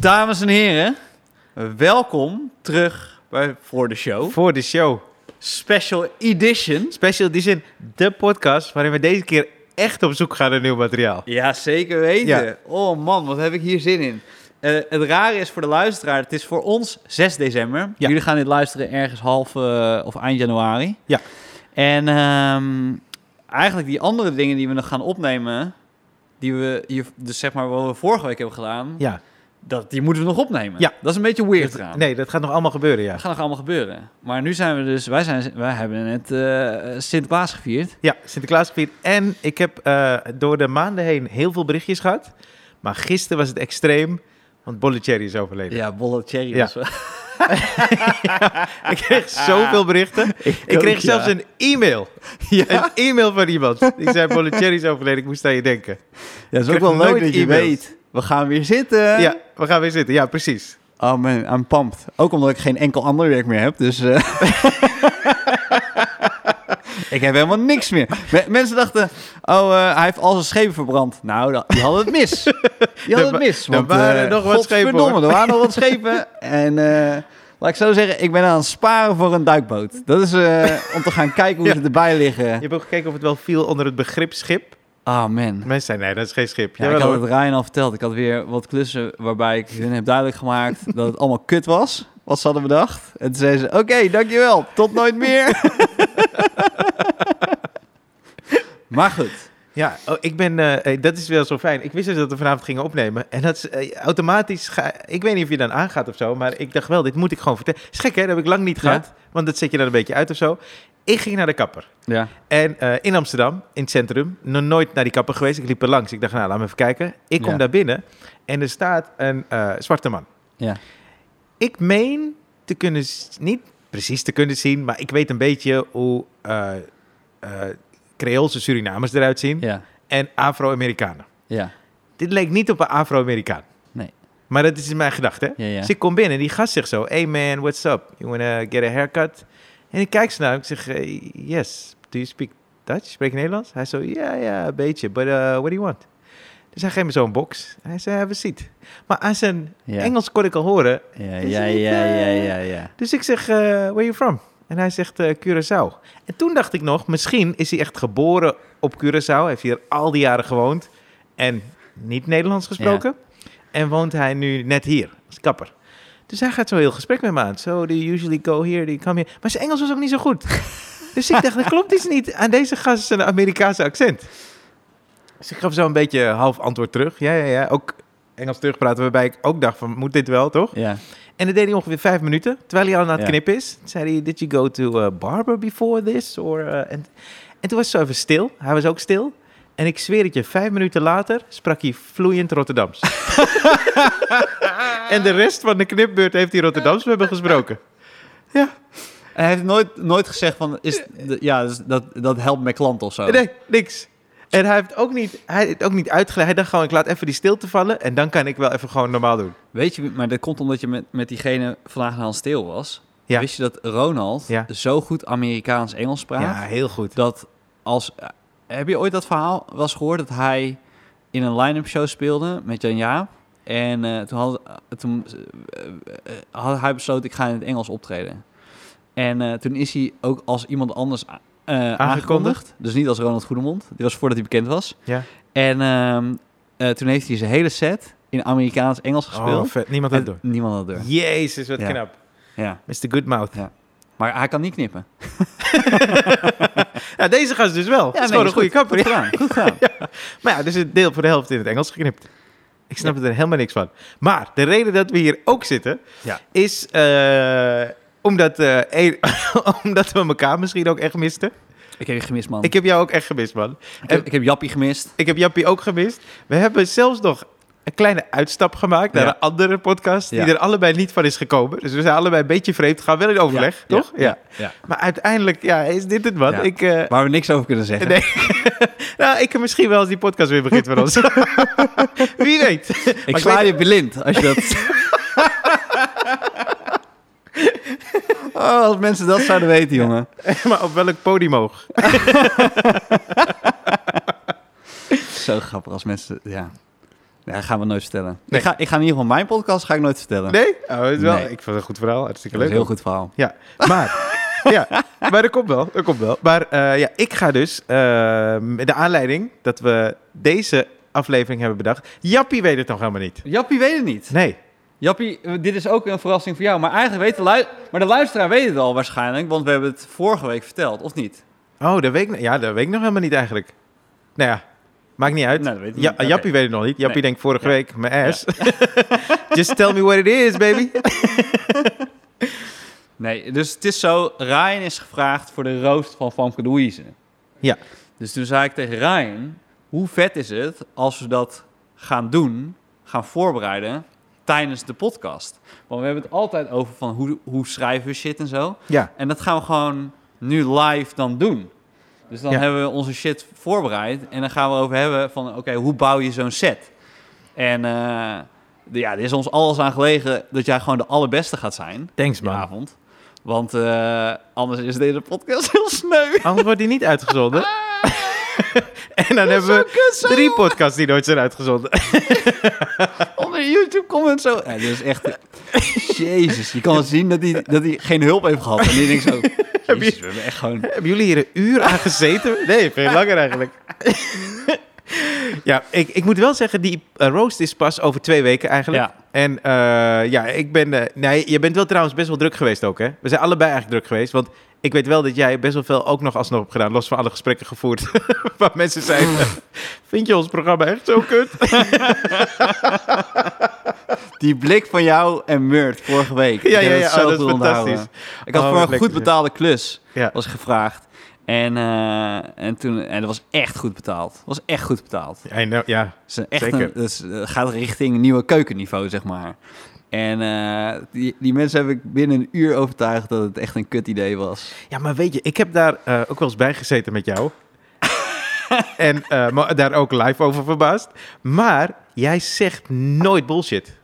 Dames en heren, welkom terug bij Voor de Show. Voor de show. Special Edition. Special Edition, de podcast waarin we deze keer echt op zoek gaan naar nieuw materiaal. Ja, zeker weten. Ja. Oh man, wat heb ik hier zin in. Eh, het rare is voor de luisteraar, het is voor ons 6 december. Ja. Jullie gaan dit luisteren ergens half eh, of eind januari. Ja. En ehm, eigenlijk die andere dingen die we nog gaan opnemen, die we hier, dus zeg maar wat we vorige week hebben gedaan, Ja. dat, die moeten we nog opnemen. Ja. Dat is een beetje weird eraan. Nee, dat gaat nog allemaal gebeuren, ja. Dat gaat nog allemaal gebeuren. Maar nu zijn we dus, wij, zijn, wij hebben net eh Sinterklaas gevierd. Ja, Sinterklaas gevierd. En ik heb eh, door de maanden heen heel veel berichtjes gehad. Maar gisteren was het extreem, want Bollicherry is overleden. Ja, bolle cherry. Ja. was wel- Ik kreeg zoveel berichten. Ik Ah. ook, kreeg ja. zelfs een e-mail. Een e-mail van iemand. Die zei, Bollicherry is overleden, ik moest aan je denken. Ja, het is Ik ook wel krijg leuk nooit dat je e-mails. weet. We gaan weer zitten. Ja, we gaan weer zitten. Ja, precies. Oh man, I'm pumped. Ook omdat ik geen enkel ander werk meer heb, dus... eh. ik heb helemaal niks meer. Me- mensen dachten, oh, eh, hij heeft al zijn schepen verbrand. Nou, dat, die hadden het mis. Die hadden wa- het mis. er Want, waren eh, nog wat schepen, godverdomme, Er waren nog wat schepen. En eh, laat ik zo zeggen, ik ben aan het sparen voor een duikboot. Dat is eh, om te gaan kijken hoe Ja. ze erbij Je liggen. hebt ook gekeken of het wel viel onder het begrip schip. Oh man. Mensen zeiden, nee, dat is geen schip. Ja, Jawel, ik had hoor. het Ryan al verteld. Ik had weer wat klussen waarbij ik hun heb duidelijk gemaakt dat het allemaal kut was. Wat ze hadden bedacht. En toen zei ze, oké, dankjewel. Tot nooit meer. maar goed. Ja, oh, ik ben, eh, eh, dat is wel zo fijn. Ik wist dus dat we vanavond gingen opnemen. En dat is eh, automatisch, ga, ik weet niet of je dan aangaat of zo, maar ik dacht wel, dit moet ik gewoon vertellen. Is gek hè, dat heb ik lang Ja. niet gehad, want dat zet je dan een beetje uit of zo. Ik ging naar de kapper. Ja. En eh, in Amsterdam, in het centrum, nog nooit naar die kapper geweest. Ik liep er langs. Ik dacht, nou, laat me even kijken. Ik kom Ja. daar binnen en er staat een eh, zwarte man. Ja. Ik meen te kunnen, z- niet precies te kunnen zien, maar ik weet een beetje hoe eh eh, Creoolse Surinamers eruit zien Ja. en Afro-Amerikanen. Ja. Dit leek niet op een Afro-Amerikaan. Nee. Maar dat is in mijn gedachte. Ja, ja. Dus ik kom binnen en die gast zegt zo... Hey man, what's up? You wanna get a haircut? En ik kijk ze naar hem. Ik zeg, eh, yes. Do you speak Dutch? Spreek je Nederlands? Hij zo, ja, ja, een beetje. But uh, what do you want? Dus hij geeft me zo'n box. Hij zei, have a seat. Maar aan zijn Ja. Engels kon ik al horen. Ja, Is ja, het, ja, ja, eh, ja, ja. Dus ik zeg, eh, where you from? En hij zegt, eh, Curaçao. En toen dacht ik nog, misschien is hij echt geboren op Curaçao. Heeft hier al die jaren gewoond. En niet Nederlands gesproken. En woont hij nu net hier, als kapper. Dus hij gaat zo heel gesprek met me aan. So, do you usually go here, do you come here? Maar zijn Engels was ook niet zo goed. dus ik dacht, er klopt iets niet aan deze gast zijn Amerikaanse accent. Dus ik gaf zo een beetje half antwoord terug. Ja, ja, ja. Ook Engels terugpraten, waarbij ik ook dacht van, moet dit wel, toch? Ja. En dat deed hij ongeveer vijf minuten, terwijl hij al aan het Ja. knippen is. Toen zei hij, did you go to a barber before this? Or, eh, en, en toen was ze even stil. Hij was ook stil. En ik zweer het je, vijf minuten later sprak hij vloeiend Rotterdams. en de rest van de knipbeurt heeft hij Rotterdams we hebben gesproken. En hij heeft nooit, nooit gezegd van, is, de- ja, dus dat, dat helpt mijn klant of zo. Nee, niks. En hij heeft ook niet, hij heeft ook niet uitgelegd. Hij dacht gewoon, ik laat even die stilte vallen en dan kan ik wel even gewoon normaal doen. Weet je, maar dat komt omdat je met, met diegene vandaag aan stil was. Ja. Wist je dat Ronald Ja. zo goed Amerikaans-Engels praat? Ja, heel goed. dat als. Heb je ooit dat verhaal wel eens gehoord dat hij in een line-up show speelde met Jan Jaap? En eh, toen, had, toen eh, eh, had hij besloten, ik ga in het Engels optreden. En eh, toen is hij ook als iemand anders a- eh, aangekondigd. Dus niet als Ronald Goedemond. Dit was voordat hij bekend was. Ja. En ehm, eh, toen heeft hij zijn hele set in Amerikaans-Engels Oh, gespeeld. vet. Niemand had het En door. niemand had het door. Jezus, wat Ja. knap. Ja. Mr. Goodmouth. Maar hij kan niet knippen. Ja, deze gast dus wel. Ja, dat is nee, gewoon een goede goed. kapper. Goed gedaan, goed gedaan. Maar ja, dus het deel voor de helft in het Engels geknipt. Ik snap er helemaal niks van. Maar de reden dat we hier ook zitten, Ja. is eh, omdat, eh, een- omdat we elkaar misschien ook echt misten. Ik heb je gemist, man. Ik Ik, heb jou ook echt gemist, man. heb, ik heb Jappie gemist. Ik heb Jappie ook gemist. We hebben zelfs nog een kleine uitstap gemaakt naar Ja. een andere podcast, Ja. die er allebei niet van is gekomen. Dus we zijn allebei een beetje vreemd gaan wel in overleg, toch? Ja. ja. Maar uiteindelijk, ja, is dit het, man? Ja. Ik, eh, Waar we niks over kunnen zeggen. Nee. Nou, ik heb misschien wel als die podcast weer begint van ons. Wie weet. Maar Ik ik sla weet- je blind als je dat. oh, als mensen dat zouden weten, jongen. maar op welk podium ook. Zo grappig als mensen. Ja. Nee, dat gaan we nooit vertellen. Nee. Ik, ga, ik ga in ieder geval mijn podcast ga ik nooit vertellen. Nee? Oh, het is wel. Nee. Ik vond het een goed verhaal. Hartstikke Dat is leuk. een heel goed verhaal. Ja, maar... ja, maar dat komt wel. Dat komt wel. Maar eh, ja, ik ga dus... eh, met de aanleiding dat we deze aflevering hebben bedacht... Jappie weet het nog helemaal niet. Jappie weet het niet. Nee. Jappie, eh, dit is ook een verrassing voor jou. Maar eigenlijk weet de, lui- maar de luisteraar weet het al waarschijnlijk, want we hebben het vorige week verteld, of niet? Oh, dat weet ik, ja, dat weet ik nog helemaal niet eigenlijk. Nou ja, maakt niet uit. Nou, dat weet ik ja, niet. Oké. Jappie weet het nog niet. Jappie Nee. denkt vorige Ja. week, mijn ass. Just tell me what it is, baby. Nee, dus het is zo, Ryan is gevraagd voor de roost van Famke Louise. Ja. Dus toen zei ik tegen Ryan, hoe vet is het als we dat gaan doen, gaan voorbereiden tijdens de podcast? Want we hebben het altijd over van hoe, hoe schrijven we shit en zo. Ja, En dat gaan we gewoon nu live dan doen. Dus dan Ja. hebben we onze shit voorbereid. En dan gaan we over hebben van, oké, hoe bouw je zo'n set? En eh, de- ja, er is ons alles aan gelegen dat jij gewoon de allerbeste gaat zijn thanks man. vanavond. Want eh, anders is deze podcast heel sneu. Anders wordt die niet uitgezonden. Ah. en dan hebben we drie podcasts die nooit zijn uitgezonden. Onder YouTube comments zo. Ja, dit is echt... Jezus, je kan wel zien dat hij, dat hij geen hulp heeft gehad. En die denkt zo... Jezus, we hebben echt gewoon... hebben jullie hier een uur aan gezeten? Nee, veel langer eigenlijk. ja, ik, ik moet wel zeggen, die eh, roast is pas over twee weken eigenlijk. Ja. En eh, ja, ik ben... eh, nee, je bent wel trouwens best wel druk geweest ook, hè? We zijn allebei eigenlijk druk geweest, want... Ik weet wel dat jij best wel veel ook nog alsnog hebt gedaan, los van alle gesprekken gevoerd. waar mensen zijn. Vind je ons programma echt zo kut? Die blik van jou en Murt vorige week. Ja, Ik ja, heb ja, het zo oh, dat is goed onthouden. fantastisch. Ik had Oh, voor wat een lekker, goed zeg. betaalde klus Ja. was gevraagd. En, eh, en, toen, en dat was echt goed betaald. Dat was echt goed betaald. I know, ja, Het is echt Zeker. een- dus, eh, gaat richting nieuwe keukenniveau, zeg maar. En eh, die, die mensen heb ik binnen een uur overtuigd dat het echt een kut idee was. Ja, maar weet je, ik heb daar eh, ook wel eens bij gezeten met jou. en eh, maar daar ook live over verbaasd. Maar jij zegt nooit bullshit.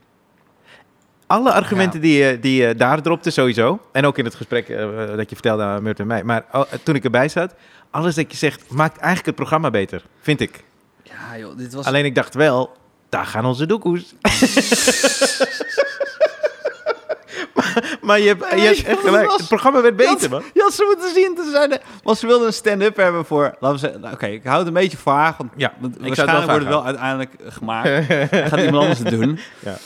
Alle argumenten die, je, die je daar dropte sowieso. En ook in het gesprek eh, dat je vertelde aan Murt en mij. Maar al- toen ik erbij zat, alles dat je zegt maakt eigenlijk het programma beter. Vind ik. Ja, joh, dit was. Alleen ik dacht wel, daar gaan onze doekoes. maar, maar je hebt, je hebt echt gelijk. Het programma werd Je beter, had- man. Je had ze moeten zien te zijn. Want ze wilden een stand-up hebben voor. Laten we zeggen, nou, oké, ik hou het een beetje vaag. Want Ja, want ik zou waarschijnlijk het wel wordt het wel uiteindelijk eh, gemaakt. Dan gaat iemand anders het doen. Ja.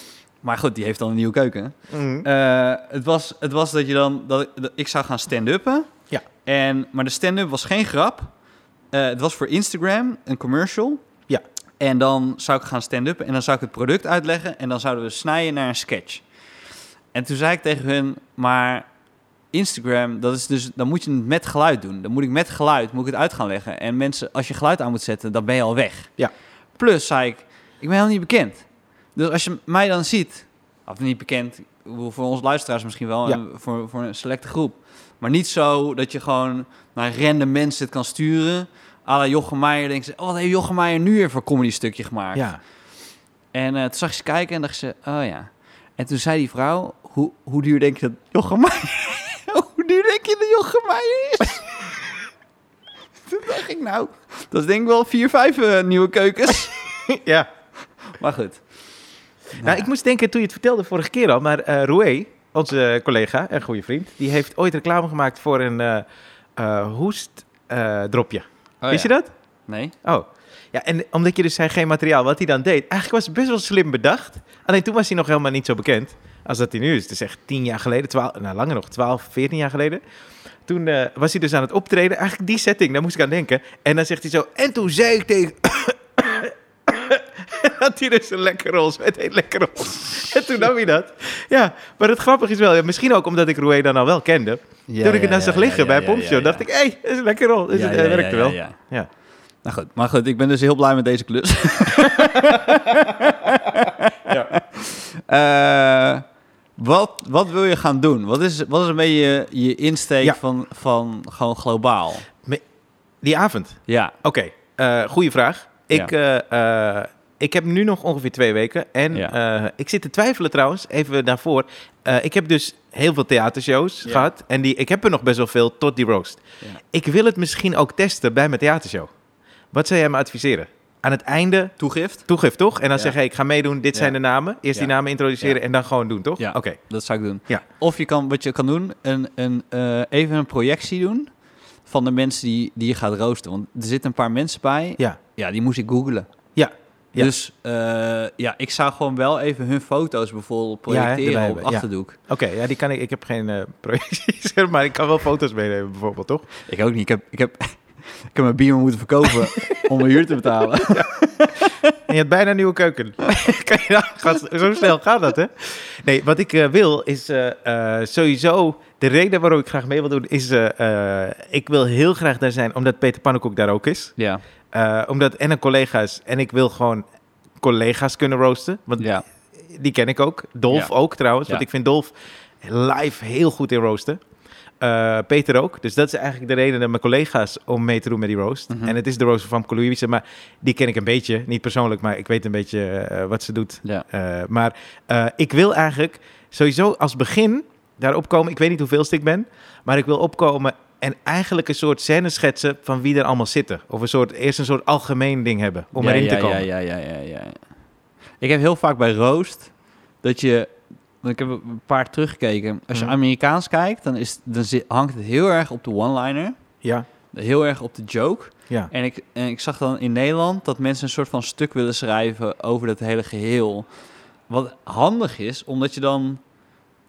Maar goed, die heeft dan een nieuwe keuken. Mhm. Eh, het, was, het was dat je dan. Dat, ik- dat ik zou gaan stand-uppen. Ja. En, maar de stand-up was geen grap. Eh, het was voor Instagram, een commercial. Ja. En dan zou ik gaan stand-uppen en dan zou ik het product uitleggen. En dan zouden we snijden naar een sketch. En toen zei ik tegen hun, maar Instagram, dat is dus, dan moet je het met geluid doen. Dan moet ik met geluid moet ik het uit gaan leggen. En mensen, als je geluid aan moet zetten, dan ben je al weg. Ja. Plus, zei ik, ik ben helemaal niet bekend. Dus als je mij dan ziet, of niet bekend, ik bedoel, voor ons luisteraars misschien wel, Ja. en voor, voor een selecte groep. Maar niet zo dat je gewoon naar random mensen het kan sturen. À la Jochem Meijer denken ze, oh, wat heeft Jochem Meijer nu weer voor comedy stukje gemaakt? Ja. En eh, toen zag ik ze kijken en dacht ze, oh ja. En toen zei die vrouw, hoe, hoe duur denk je dat Jochem Meijer... hoe duur denk je dat Jochem Meijer is? toen dacht ik, nou, dat is denk ik wel vier, vijf eh, nieuwe keukens. ja. maar goed. Nou, ik moest denken toen je het vertelde vorige keer al, maar eh Roué, onze collega en goede vriend, die heeft ooit reclame gemaakt voor een eh hoestdropje. Wist je dat? Nee? Oh. Ja, en omdat je dus zei geen materiaal, wat hij dan deed, eigenlijk was het best wel slim bedacht. Alleen toen was hij nog helemaal niet zo bekend als dat hij nu is. Het is echt tien jaar geleden, twaalf, nou langer nog, twaalf, veertien jaar geleden. Toen eh, was hij dus aan het optreden, eigenlijk die setting, daar moest ik aan denken. En dan zegt hij zo, en toen zei ik tegen... Had hij dus een lekker rols, met een lekker rols. En toen nam hij dat. Ja, maar het grappige is wel, ja, misschien ook omdat ik Roué dan al wel kende. toen ik het nou zag liggen bij Pompshow, dacht ik, hé, hey, dat is een lekker rol. Dus het eh, werkte wel. Ja, Ja. Nou goed, maar goed, ik ben dus heel blij met deze klus. Eh, wat, wat wil je gaan doen? Wat is, wat is een beetje je, je insteek Ja. van, van gewoon globaal? Die avond. Ja, Oké, eh goede vraag. Ik, eh, eh, ik heb nu nog ongeveer twee weken. En Ja. eh, ik zit te twijfelen trouwens, even daarvoor. Eh, ik heb dus heel veel theatershows Ja. gehad. En die, ik heb er nog best wel veel tot die roast. Ja. Ik wil het misschien ook testen bij mijn theatershow. Wat zou jij me adviseren? aan het einde Toegift? toegift, toch? En dan Ja. zeggen, hey, ik ga meedoen, dit Ja. zijn de namen. Eerst die Ja. namen introduceren Ja. en dan gewoon doen, toch? Ja. Oké. Dat zou ik doen. Ja. Of je kan, wat je kan doen, een, een, eh, even een projectie doen van de mensen die, die je gaat roosten. Want er zitten een paar mensen bij. Ja. Ja, die moest ik googlen. Ja. Ja. Dus eh, ja, ik zou gewoon wel even hun foto's bijvoorbeeld Ja, hè, projecteren erbij op hebben, ja. achterdoek. Oké, ja, die kan ik. Ik heb geen eh, projecties, maar ik kan wel foto's meenemen, bijvoorbeeld, toch? Ik ook niet. Ik heb, ik heb, ik heb mijn bier moeten verkopen om mijn huur te betalen. En je hebt bijna een nieuwe keuken. kan je nou, gast, zo snel gaat dat, hè? Nee, wat ik eh, wil is eh, eh, sowieso... De reden waarom ik graag mee wil doen is... eh, eh, ik wil heel graag daar zijn, omdat Peter Pannenkoek daar ook is. Ja, Eh, omdat en een collega's... En ik wil gewoon collega's kunnen roosten. Want ja, die ken ik ook. Dolf Ja. ook trouwens. Want Ja. ik vind Dolf live heel goed in roosten. Eh, Peter ook. Dus dat is eigenlijk de reden dat mijn collega's om mee te doen met die roast. Mhm. En het is de roast van Louise, maar die ken ik een beetje. Niet persoonlijk, maar ik weet een beetje eh, wat ze doet. ja. Eh, maar eh, ik wil eigenlijk sowieso als begin daarop komen. Ik weet niet hoeveel ik ben, maar ik wil opkomen en eigenlijk een soort scène schetsen van wie er allemaal zitten. Of een soort, eerst een soort algemeen ding hebben om ja, erin ja, te komen. Ja, ja, ja, ja, ja. Ik heb heel vaak bij Roost dat je... want Ik heb een paar teruggekeken. Als je Mhm. Amerikaans kijkt, dan, is, dan zit- hangt het heel erg op de one-liner. ja. Heel erg op de joke. ja. En ik, en ik zag dan in Nederland dat mensen een soort van stuk willen schrijven over dat hele geheel. Wat handig is, omdat je dan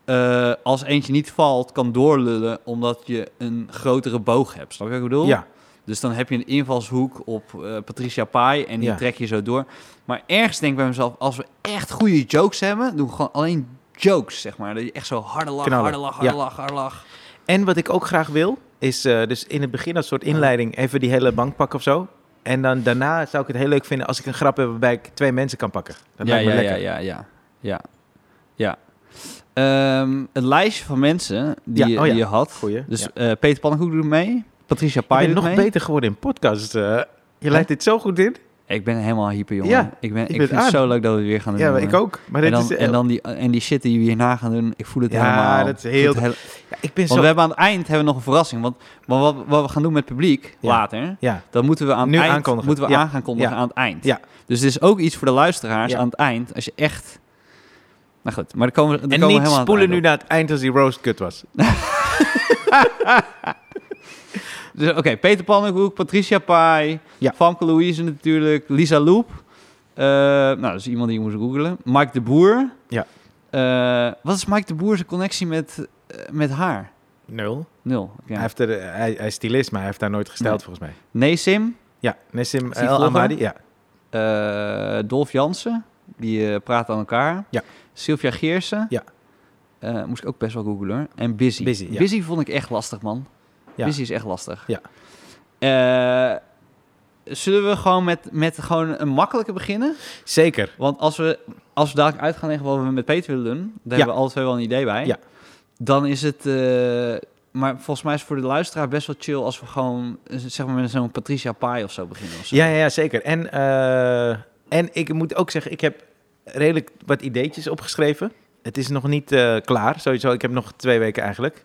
eh, als eentje niet valt, kan doorlullen omdat je een grotere boog hebt. Snap je wat ik bedoel? ja. Dus dan heb je een invalshoek op eh, Patricia Pai en die Ja. trek je zo door. Maar ergens denk ik bij mezelf, als we echt goede jokes hebben, doen we gewoon alleen jokes, zeg maar. Dat je echt zo harde lach, Knallen. harde lach, harde Ja. lach, harde lach. En wat ik ook graag wil, is eh, dus in het begin als soort inleiding even die hele bank pakken of zo. En dan daarna zou ik het heel leuk vinden als ik een grap heb waarbij ik twee mensen kan pakken. Dat ja, lijkt me ja, ja, lekker. ja, ja, ja, ja. Ehm, het lijstje van mensen die, Ja, je- oh ja. die je had. Goeie, Dus ja. Oh, eh, Peter Pannenkoek doet mee. Patricia Je Pai bent doet nog mee. beter geworden in podcast. eh. je leidt dit zo goed in. Ik ben helemaal hyper, jongen. Ja, ik ben, ik bent vind aan. het zo leuk dat we het weer gaan doen. Ja, maar jongen. ik ook. Maar En dit dan, is, eh, en dan die, en die shit die we hierna gaan doen, ik voel het Ja, helemaal. dat is Ik voel heel- het hele- Ja, ik ben Want zo... we hebben aan het eind hebben we nog een verrassing. Want, want wat, wat we gaan doen met het publiek Ja. later, Ja, dat moeten we aan Nu het eind aankondigen. moeten we Ja. aan gaan kondigen Ja. aan het eind. Ja. Dus het is ook iets voor de luisteraars Ja. aan het eind. Als je echt. Nou goed, maar dan komen we. Dan en komen we niet helemaal aan het spoelen eind nu naar het eind als die roast kut was. op. Dus, Oké, Peter Pannenkoek, Patricia Pai, Ja. Famke Louise natuurlijk, Lisa Loep. Eh, nou, dat is iemand die je moest googlen. Mike de Boer. Ja. Eh, wat is Mike de Boer zijn connectie met, eh, met haar? Nul. Nul. Ja. Hij, heeft er, eh, hij, hij is stylist, maar hij heeft daar nooit gesteld Nee. volgens mij. Nee, Sim. Ja, Nessim Is die El vlogger? Amadi. Ja. eh Dolf Jansen, die eh, praat aan elkaar. Ja. Sylvia Geersen. Ja. Eh, moest ik ook best wel googlen. hoor. En Busy. Busy, ja. vond ik echt lastig, man. Ja. Busy is echt lastig. Ja. Eh, zullen we gewoon met, met gewoon een makkelijke beginnen? Zeker. Want als we, als we dadelijk uit gaan leggen wat we met Peter willen doen... daar Ja. hebben we alle twee wel een idee bij. Ja. Dan is het... eh, maar volgens mij is het voor de luisteraar best wel chill... als we gewoon eh, zeg maar met zo'n Patricia Pai of zo beginnen. Of zo. Ja, ja, ja, zeker. En, eh, en ik moet ook zeggen, ik heb redelijk wat ideetjes opgeschreven. Het is nog niet eh, klaar, sowieso. Ik heb nog twee weken eigenlijk.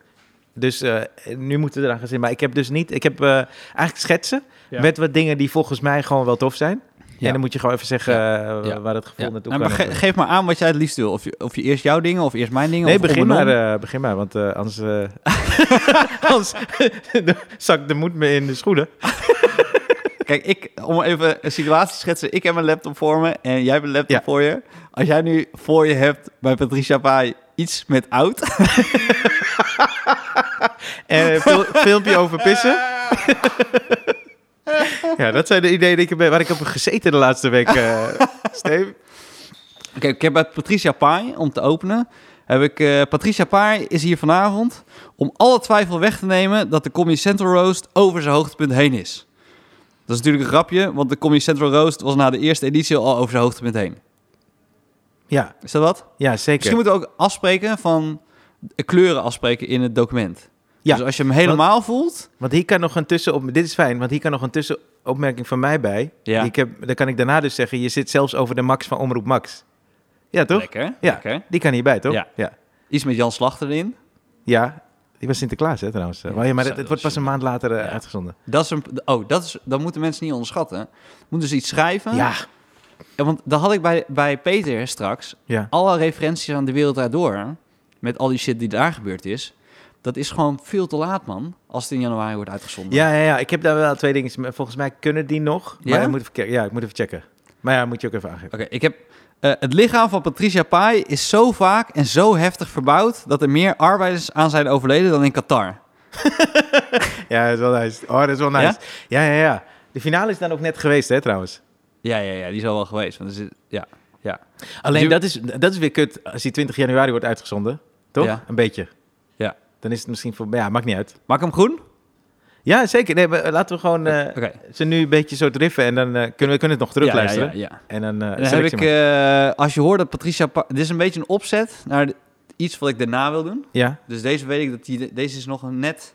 Dus eh, nu moeten we eraan gaan zitten. Maar ik heb dus niet... Ik heb eh, eigenlijk schetsen Ja. met wat dingen die volgens mij gewoon wel tof zijn. Ja. En dan moet je gewoon even zeggen eh, Ja. waar het gevoel Ja. naartoe Nou, kan. maar ge- geef maar aan wat jij het liefst wil. Of je, of je eerst jouw dingen, of eerst mijn dingen. Nee, of begin maar, andersom. eh, begin maar, want eh, anders, eh anders zakt de moed me in de schoenen. Kijk, ik, om even een situatie te schetsen. Ik heb mijn laptop voor me en jij hebt een laptop Ja. voor je. Als jij nu voor je hebt bij Patricia Pai iets met oud. En een Eh, fil- filmpje over pissen. ja, dat zijn de ideeën die ik, heb- waar ik op heb gezeten de laatste week, eh Steve. Oké, ik heb bij Patricia Pai, om te openen, heb ik... eh, Patricia Pai is hier vanavond om alle twijfel weg te nemen dat de Comedy Central Roast over zijn hoogtepunt heen is. Dat is natuurlijk een grapje, want de Comedy Central Roast was na de eerste editie al over zijn hoogtepunt heen. Ja, Is dat wat? ja zeker. Misschien moeten we ook afspreken van eh, kleuren afspreken in het document. Ja. Dus als je hem helemaal voelt, Want hier kan nog een tussenop... Dit is fijn, want hier kan nog een tussenopmerking van mij bij. Ja. Die Ik heb, dan kan ik daarna dus zeggen, je zit zelfs over de max van Omroep Max. Ja, toch? lekker. Ja. lekker. Die kan hierbij, toch? Ja. Ja. Iets met Jan Slachter erin. Ja. Die was Sinterklaas, hè, trouwens. Ja, Oh ja, maar zo, het, het dat wordt was pas een maand later eh, Ja. uitgezonden. Dat is een, oh, dat, is, dat moeten mensen niet onderschatten. Moeten ze iets schrijven. Ja, Ja, Want dat had ik bij, bij Peter straks. ja. Alle referenties aan de wereld daardoor. Met al die shit die daar gebeurd is. Dat is gewoon veel te laat, man. Als het in januari wordt uitgezonden. Ja, ja, ja, ik heb daar wel twee dingen. Volgens mij kunnen die nog. Maar Ja? ik moet even, kijken. ja, ik moet even checken. Maar ja, moet je ook even aangeven. Oké, ik heb. eh, het lichaam van Patricia Pai is zo vaak en zo heftig verbouwd. dat er meer arbeiders aan zijn overleden dan in Qatar. Ja, dat is wel nice. Oh, dat is wel nice. Ja, ja, ja. De finale is dan ook net geweest, hè, trouwens. Ja, ja, ja, die is al wel geweest. Want er zit- ja, ja. Alleen Je- dat is, dat is weer kut als die 20 januari wordt uitgezonden. Toch? Ja. Een beetje. Ja. Dan is het misschien voor... Ja, maakt niet uit. Maak hem groen? Ja, zeker. Nee, maar laten we gewoon eh, Oké. ze nu een beetje zo driffen en dan eh, kunnen we kunnen het nog Ja, terugluisteren. ja, ja, ja. En dan, eh Dan heb selectie ik, maken. eh, als je hoort dat Patricia... Pa- dit is een beetje een opzet naar de- iets wat ik daarna wil doen. Ja, Dus deze weet ik dat die, deze is nog een net...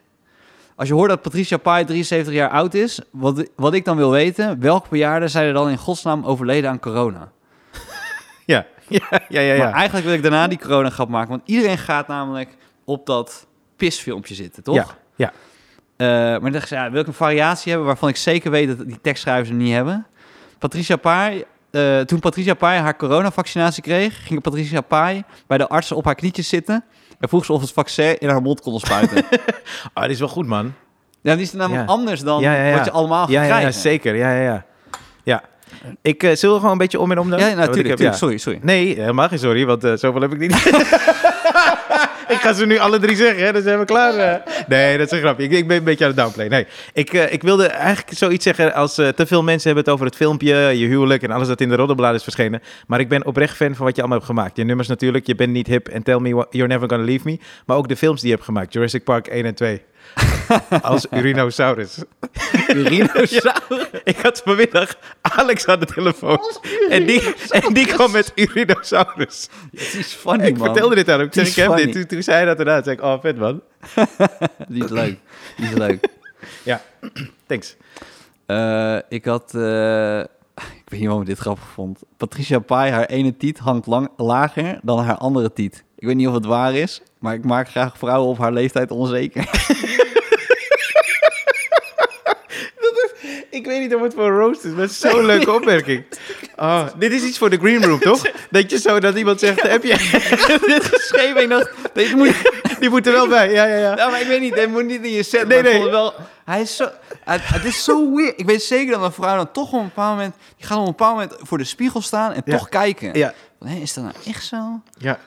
Als je hoort dat Patricia Pai 73 jaar oud is, wat, wat ik dan wil weten, welk bejaarden zijn er dan in godsnaam overleden aan corona? ja, ja, ja, ja. Maar ja. eigenlijk wil ik daarna die corona grap maken, want iedereen gaat namelijk op dat pisfilmpje zitten, toch? Ja, ja. Eh, maar dan dacht ik, ja, wil ik een variatie hebben waarvan ik zeker weet dat die tekstschrijvers hem niet hebben. Patricia Pai, eh, toen Patricia Pai haar coronavaccinatie kreeg, ging Patricia Pai bij de artsen op haar knietjes zitten en vroeg ze of het vaccin in haar mond konden spuiten. Oh, dit is wel goed, man. ja, die is namelijk Ja. anders dan Ja, ja, ja. wat je allemaal gaat Ja, ja, ja, krijgen. zeker. Ja, ja, ja. ja. Ik eh zullen we gewoon een beetje om en om dan? Ja, Want ik natuurlijk. Oh, heb- ja. Sorry, sorry. Nee, helemaal geen sorry, want eh, zoveel heb ik niet. ik ga ze nu alle drie zeggen, hè, dan zijn we klaar. eh. Nee, dat is een grapje. Ik, ik ben een beetje aan het downplay. Nee, ik, eh, ik wilde eigenlijk zoiets zeggen als eh, te veel mensen hebben het over het filmpje, je huwelijk en alles dat in de roddelblad is verschenen. Maar ik ben oprecht fan van wat je allemaal hebt gemaakt. Je nummers natuurlijk, je bent niet hip en Tell Me Wha- You're Never Gonna Leave Me. Maar ook de films die je hebt gemaakt, Jurassic Park 1 en 2. als Urinosaurus. Urinosaurus. Ik had vanmiddag Alex aan de telefoon. En die, en die kwam met Urinosaurus. Het is funny, Ik man. vertelde dit aan hem. Ik Die zeg, is ik heb funny. dit. Toen, toen zei hij dat inderdaad. Toen zei ik, oh, vet man. Die is leuk. Die is leuk. Thanks. Eh, ik had... eh, ik weet niet waarom ik dit grappig vond. Patricia Pai, haar ene tiet hangt lang, lager dan haar andere tiet. Ik weet niet of het waar is, maar ik maak graag vrouwen op haar leeftijd onzeker. Ik weet niet of het voor een roast is, maar zo'n leuke opmerking. Oh, dit is iets voor de green room, toch? Dat je zo dat iemand zegt, heb je... dit geschreven, ik dacht, dit moet... Die moet er wel bij. Ja, ja, ja. Nou, maar ik weet niet, dit moet niet in je set. maar Nee, ik nee. vond het Wel, hij is zo... Het, het is zo weird. Ik weet zeker dat een vrouw dan toch op een bepaald moment... Die gaat op een bepaald moment voor de spiegel staan en Ja. toch kijken. Ja. Van, hé, is dat nou echt zo? Ja.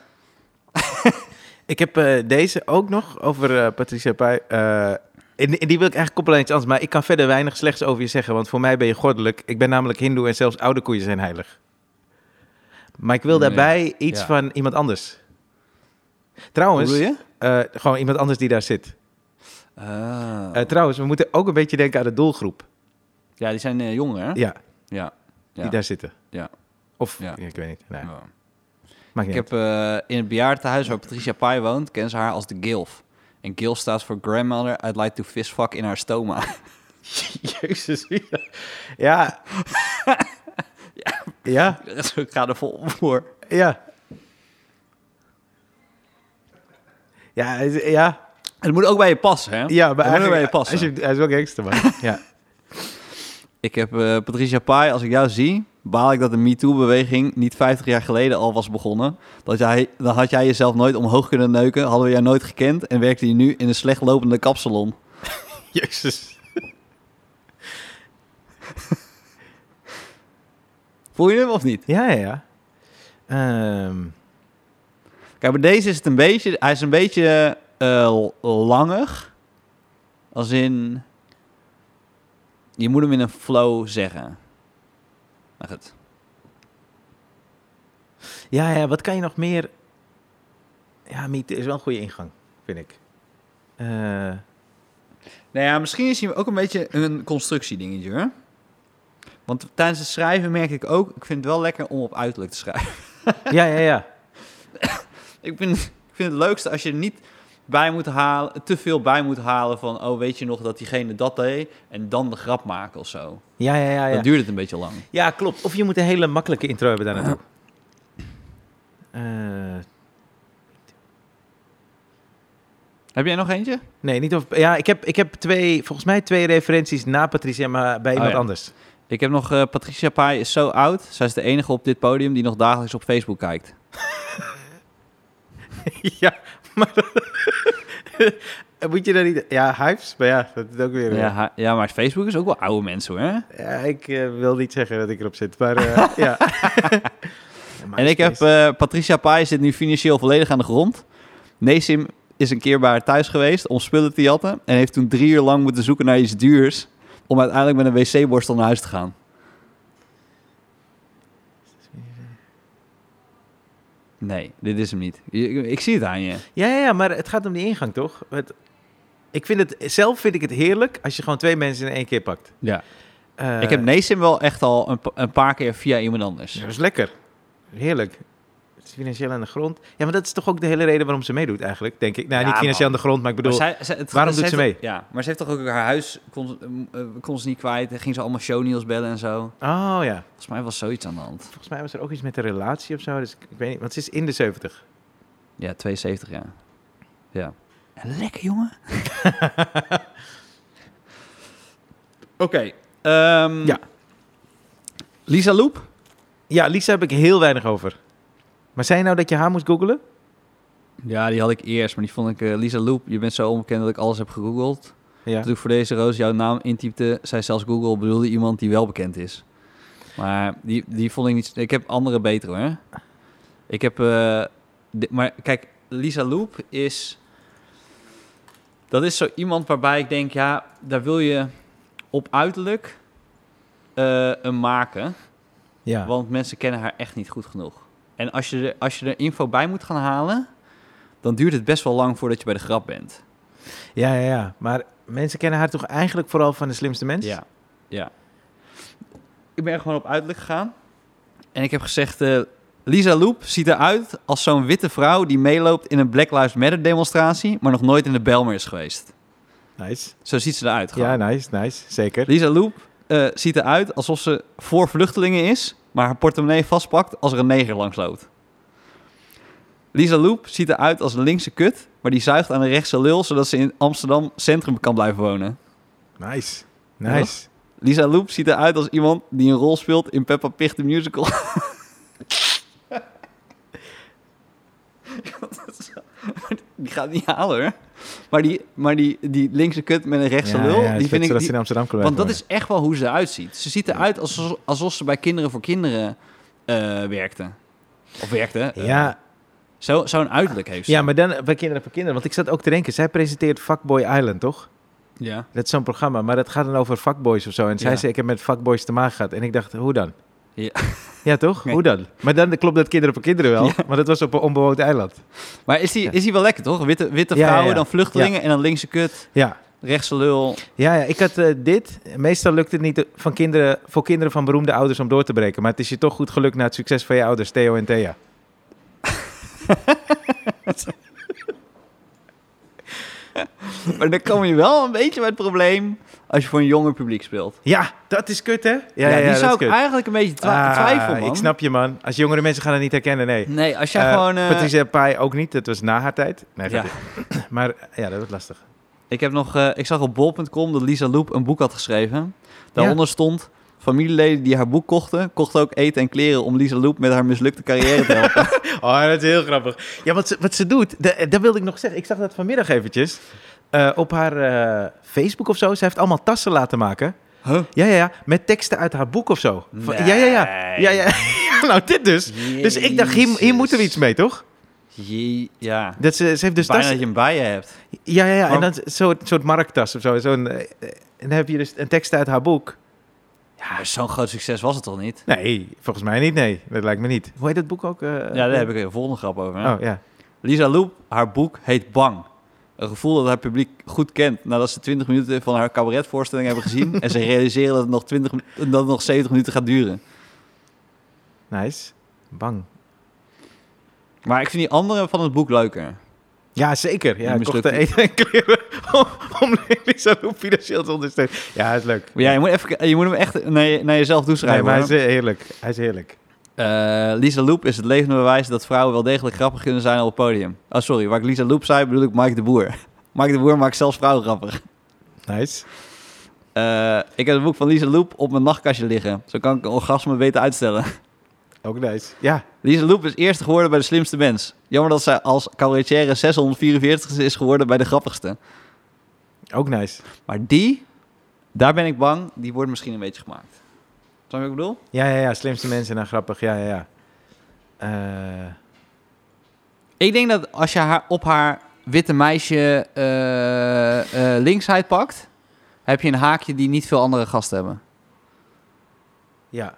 ik heb eh, deze ook nog over eh, Patricia Pai. Eh, en, en die wil ik eigenlijk koppelen aan iets anders. Maar ik kan verder weinig slechts over je zeggen. Want voor mij ben je goddelijk. Ik ben namelijk hindoe en zelfs oude koeien zijn heilig. Maar ik wil Nee. daarbij iets Ja. van iemand anders. Trouwens, Hoe bedoel je? eh, gewoon iemand anders die daar zit. Ah. Eh, trouwens, we moeten ook een beetje denken aan de doelgroep. ja, die zijn eh, jonger, hè? Ja, Ja. die Ja. daar zitten. Ja. Of, Ja. ik weet niet. Nee, Ja. maakt Ik niet heb eh, in het bejaardentehuis waar Patricia Pai woont, kennen ze haar als de Gilf. En Gilf staat voor Grandmother I'd Like to Fistfuck in haar stoma. uit. Jezus. Ja. Ja. ja. Dus Ik ga er vol voor. Ja. Ja, hij is- ja. Het moet ook bij je passen, hè? ja, maar Het moet ook bij je eigenlijk, passen. als je, hij is wel gangster, man. ja. Ik heb eh, Patricia Pai, als ik jou zie, baal ik dat de MeToo-beweging niet 50 jaar geleden al was begonnen. Dat jij, dan had jij jezelf nooit omhoog kunnen neuken, hadden we jou nooit gekend en werkte je nu in een slecht lopende kapsalon. Jezus. Voel je hem of niet? Ja, ja, ja. Ehm, Kijk, bij deze is het een beetje... Hij is een beetje eh langig. Als in... Je moet hem in een flow zeggen. Maar goed. ja, ja, wat kan je nog meer... Ja, Miet is wel een goede ingang, vind ik. Eh, Nou ja, misschien is hij ook een beetje een constructiedingetje, hoor. Want tijdens het schrijven merk ik ook... Ik vind het wel lekker om op uiterlijk te schrijven. ja, ja, ja. Ik vind, ik vind het leukste als je er niet bij moet halen... Te veel bij moet halen van... Oh, weet je nog dat diegene dat deed? En dan de grap maken of zo. Ja, ja, ja. Ah, ja. Dan duurt het een beetje lang. Ja, klopt. Of je moet een hele makkelijke intro hebben daar naartoe. Eh, Heb jij nog eentje? Nee, niet of... Ja, ik heb, ik heb twee, volgens mij twee referenties na Patricia, maar bij Oh, iemand ja. anders. Ik heb nog eh, Patricia Pai is zo oud. Zij is de enige op dit podium die nog dagelijks op Facebook kijkt. ja, maar... dat- Moet je daar niet... Ja, hypes, maar ja, dat is ook weer... Ja, ha- ja, maar Facebook is ook wel oude mensen hoor. Ja, ik eh, wil niet zeggen dat ik erop zit, maar eh, ja. En ik heb eh, Patricia Pai zit nu financieel volledig aan de grond. Neesim is een keer bij haar thuis geweest om spullen te jatten. En heeft toen drie uur lang moeten zoeken naar iets duurs. Om uiteindelijk met een wc-borstel naar huis te gaan. Nee, dit is hem niet. Je- Ik, ik zie het aan je. eh, Ja, ja, ja, maar het gaat om die ingang, toch? Het- ik vind het, zelf vind ik het heerlijk als je gewoon twee mensen in één keer pakt. Ja. Eh, ik heb Neesim wel echt al een, pa- een paar keer via iemand anders. Dat is lekker. Heerlijk. Het is financieel aan de grond. Ja, maar dat is toch ook de hele reden waarom ze meedoet eigenlijk, denk ik. Nou, Ja, niet financieel maar- aan de grond, maar ik bedoel... Maar zij- zij- het- waarom doet ze heeft- Ja, maar ze heeft toch ook haar huis kon, eh, kon ze niet kwijt. En ging ze allemaal showniels bellen en zo. Oh ja, Volgens mij was zoiets aan de hand. volgens mij was er ook iets met een relatie of zo. Dus ik, ik weet niet, want ze is in de 70. Ja, 72 jaar. Ja. En lekker, jongen. Oké. ehm, Ja. Lisa Loep? Ja, Lisa heb ik heel weinig over. Maar zei je nou dat je haar moest googelen? Ja, die had ik eerst, maar die vond ik... eh, Lisa Loep, je bent zo onbekend dat ik alles heb gegoogeld. Ja. Toen ik voor deze roos jouw naam intypte, zei zelfs Google bedoelde iemand die wel bekend is. Maar die, die vond ik niet... Ik heb andere beter, hoor. Ik heb... eh, di- maar kijk, Lisa Loep is... Dat is zo iemand waarbij ik denk, ja, daar wil je op uiterlijk eh, een maken. Ja. Want mensen kennen haar echt niet goed genoeg. En als je, er, als je er info bij moet gaan halen, dan duurt het best wel lang voordat je bij de grap bent. Ja, ja, ja. Maar mensen kennen haar toch eigenlijk vooral van de slimste mens? Ja, ja. Ik ben er gewoon op uiterlijk gegaan. En ik heb gezegd, eh, Lisa Loep ziet eruit als zo'n witte vrouw die meeloopt in een Black Lives Matter demonstratie, maar nog nooit in de Belmer is geweest. Nice. Zo ziet ze eruit gewoon. Ja, nice, nice. Zeker. Lisa Loep eh, ziet eruit alsof ze voor vluchtelingen is, maar haar portemonnee vastpakt als er een neger langs loopt. Lisa Loep ziet eruit als een linkse kut, maar die zuigt aan een rechtse lul zodat ze in Amsterdam centrum kan blijven wonen. Nice. Nice. Lisa Loep ziet eruit als iemand die een rol speelt in Peppa Pig the Musical. die gaat het niet halen hoor. Maar die, maar die, die linkse kut met een rechtse lul, die vind ik... in die- Amsterdam want dat is echt wel hoe ze eruit ziet. Ze ziet eruit alsof, alsof ze bij Kinderen voor Kinderen eh, werkte. Of werkte. eh, Ja, zo- Zo'n uiterlijk heeft ze. ja, maar dan bij Kinderen voor Kinderen. Want ik zat ook te denken, zij presenteert Fuckboy Island, toch? ja. Dat is zo'n programma, maar dat gaat dan over fuckboys of zo. En zij Ja. zei, ik heb met fuckboys te maken gehad. En ik dacht, hoe dan? Ja. Ja, toch? Nee. Hoe dan? Maar dan klopt dat Kinderen voor Kinderen wel. Maar dat was op een onbewoond eiland. Maar is die, is die wel lekker toch? Witte, witte Ja, ja, vrouwen, ja. dan vluchtelingen en dan linkse kut, Ja. rechtse lul. Ja, ja, ik had eh, dit. Meestal lukt het niet eh, van kinderen, voor kinderen van beroemde ouders om door te breken. Maar het is je toch goed gelukt na het succes van je ouders, Theo en Thea. Maar dan kom je wel een beetje bij het probleem als je voor een jonger publiek speelt. Ja, dat is kut, hè? Ja, Ja, ja, ja die dat zou is ik kut. eigenlijk een beetje twa- twijfel, Ah, man. Ik snap je, man. Als jongere mensen gaan het niet herkennen, nee. Nee, als jij Eh, gewoon... eh, Patricia Pai ook niet, dat was na haar tijd. Nee, ja. ja. Maar eh, ja, dat wordt lastig. Ik, heb nog, eh, ik zag op bol.com dat Lisa Loep een boek had geschreven. Daaronder stond... Familieleden die haar boek kochten, kochten ook eten en kleren om Lisa Loep met haar mislukte carrière te helpen. Oh, dat is heel grappig. Ja, wat ze, wat ze doet, da- dat wilde ik nog zeggen. Ik zag dat vanmiddag eventjes. eh, op haar eh, Facebook of zo. Ze heeft allemaal tassen laten maken. Huh? Ja, ja, ja. Met teksten uit haar boek of zo. Van- Ja, ja, ja. Nee. ja, ja. nou, dit dus. Dus ik dacht, hier, hier moeten we iets mee, toch? Jee, ja. Dat ze, ze heeft dus Bijna tas. dat je hem bij je hebt. Ja, ja, ja. En Waarom- dan zo'n soort markttas of zo. Zo'n, eh, eh, en dan heb je dus een tekst uit haar boek. Maar zo'n groot succes was het toch niet? Nee, volgens mij niet, nee. Dat lijkt me niet. Hoe heet dat boek ook? eh? Ja, daar heb ik een volgende grap over. hè? Oh, ja. Lisa Loep, haar boek heet Bang. Een gevoel dat haar publiek goed kent nadat ze 20 minuten van haar cabaretvoorstelling hebben gezien. en ze realiseren dat het, nog 20, mi- dat het nog 70 minuten gaat duren. Nice. Bang. Maar ik vind die andere van het boek leuker. Ja, zeker. Ja, Die ik kocht de mislukt eten en kleren om, om Lisa Loep financieel te ondersteunen. Ja, is leuk. Maar ja, je moet, even, je moet hem echt naar, je- naar jezelf Nee, toeschrijven. maar hij is hoor. eh, heerlijk. Hij is heerlijk. Eh, Lisa Loep is het Ah, levende bewijs dat vrouwen wel degelijk grappig kunnen zijn op het podium. Oh, sorry, waar ik Lisa Loep zei, bedoel ik Mike de Boer. Mike de Boer maakt zelfs vrouwen grappig. Nice. Eh, ik heb het boek van Lisa Loep op mijn nachtkastje liggen. Zo kan ik een orgasme beter uitstellen. Ook nice. Ja, Lisa Loep is eerste geworden bij de slimste mens. Jammer dat zij als cabaretière 644 is geworden bij de grappigste. ook nice. Maar die, daar ben ik bang, die wordt misschien een beetje gemaakt. Snap je wat ik bedoel? Ja, ja, ja. Slimste mensen en grappig. Ja, ja, ja. Eh, Ik denk dat als je haar op haar witte meisje eh, eh, linksheid pakt, heb je een haakje die niet veel andere gasten hebben. ja.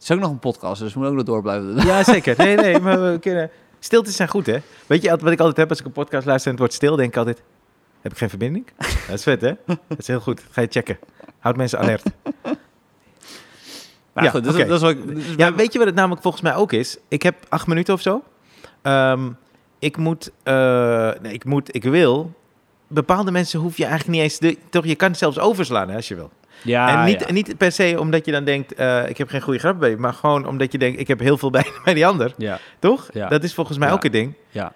Het is ook nog een podcast, dus we moeten ook nog door blijven doen. ja, zeker. Nee, nee. Maar we kunnen... Stiltes zijn goed, hè? Weet je wat wat ik altijd heb als ik een podcast luister en het wordt stil? Denk ik altijd, heb ik geen verbinding? Dat is vet, hè? Dat is heel goed. Ga je checken. Houd mensen alert. Maar Ja, goed, dat, is- oké. dat is wat ik- dus Ja, weet je wat het namelijk volgens mij ook is? Ik heb acht minuten of zo. Ehm, ik moet, eh, nee, ik moet, ik wil. Bepaalde mensen hoef je eigenlijk niet eens, de, toch? Je kan het zelfs overslaan hè, als je wil. ja, en niet, Ah, ja. en niet per se omdat je dan denkt, eh, ik heb geen goede grap bij, je, maar gewoon omdat je denkt, ik heb heel veel bij, bij die ander, Ja, toch? Ja. Dat is volgens mij Ja. ook een ding. ja.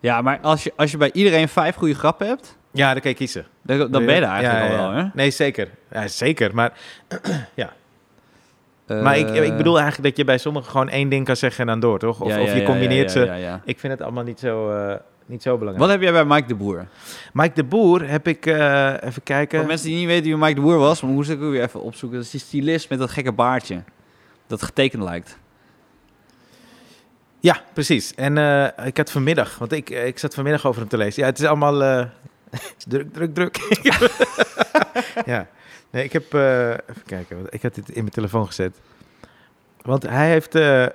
ja, maar als je, als je bij iedereen vijf goede grappen hebt, Ja, dan kan je kiezen. dan, dan ben je er eigenlijk Ja, ja, al wel, ja. hè? Nee, zeker. Ja, zeker. Maar, maar ik, Eh, ik bedoel eigenlijk dat je bij sommigen gewoon één ding kan zeggen en dan door, toch? Of, of je combineert ze. Ik vind het allemaal niet zo, eh, niet zo belangrijk. Wat heb jij bij Mike de Boer? Mike de Boer heb ik, eh, even kijken. Voor mensen die niet weten wie Mike de Boer was, maar moest ik ook weer even opzoeken. Dat is die stylist met dat gekke baardje. Dat getekend lijkt. Ja, precies. En eh, ik had vanmiddag, want ik, ik zat vanmiddag over hem te lezen. Ja, het is allemaal eh, het is druk, druk, druk. ja, nee, ik heb, eh, even kijken, want ik had dit in mijn telefoon gezet. Want hij heeft, eh,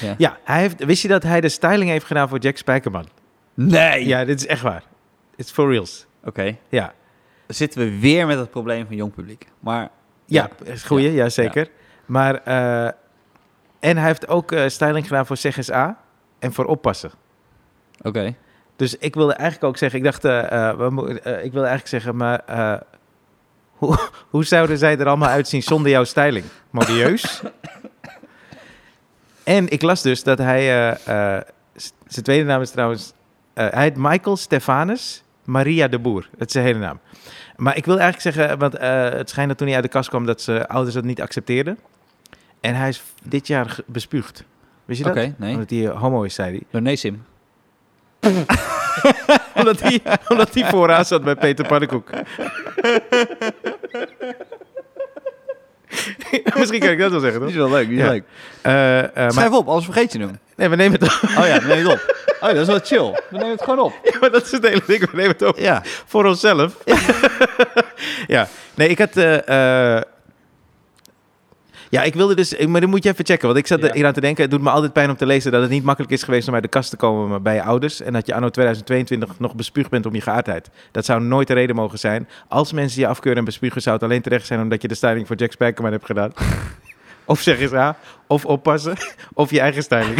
Ja. ja, hij heeft, wist je dat hij de styling heeft gedaan voor Jack Spijkerman? Nee! Ja, dit is echt waar. It's for reals. Oké, Ja, dan zitten we weer met het probleem van jong publiek. Maar Ja, is goeie, ja, zeker. Maar, eh, en hij heeft ook eh, styling gedaan voor CSA en voor oppassen. oké. Dus ik wilde eigenlijk ook zeggen, ik dacht, eh, eh, we mo- eh, ik wilde eigenlijk zeggen, maar eh, hoe, hoe zouden zij er allemaal uitzien zonder jouw styling? Modieus. en ik las dus dat hij, eh, eh, s- zijn tweede naam is trouwens, eh, hij heet Michael Stefanus Maria de Boer. Dat is zijn hele naam. Maar ik wil eigenlijk zeggen, want eh, het schijnt dat toen hij uit de kast kwam, dat zijn ouders dat niet accepteerden. En hij is dit jaar ge- bespuugd. Wist je Oké, dat? nee. Omdat hij eh, homo is, zei hij Door nee, Sim. omdat hij, omdat hij vooraan zat bij Peter Pannenkoek. Misschien kan ik dat wel zeggen, Die toch? is wel leuk, die is Ja. leuk. Eh, eh, maar, Schrijf op, anders vergeet je hem. nee, we nemen het op. Oh ja, dan neem je het op. Oh, ja, dat is wel chill. Dan neem je het gewoon op. Ja, maar dat is het hele ding. We nemen het op Ja. voor onszelf. ja, nee, ik had... eh, eh, ja, ik wilde dus... Maar dan moet je even checken. Want ik zat Ja. hier aan te denken. Het doet me altijd pijn om te lezen dat het niet makkelijk is geweest om uit de kast te komen bij je ouders. En dat je anno 2022 nog bespuugd bent om je geaardheid. Dat zou nooit de reden mogen zijn. Als mensen je afkeuren en bespugen, zou het alleen terecht zijn omdat je de styling voor Jack Spijkerman hebt gedaan. of zeg eens A, of oppassen, of je eigen styling.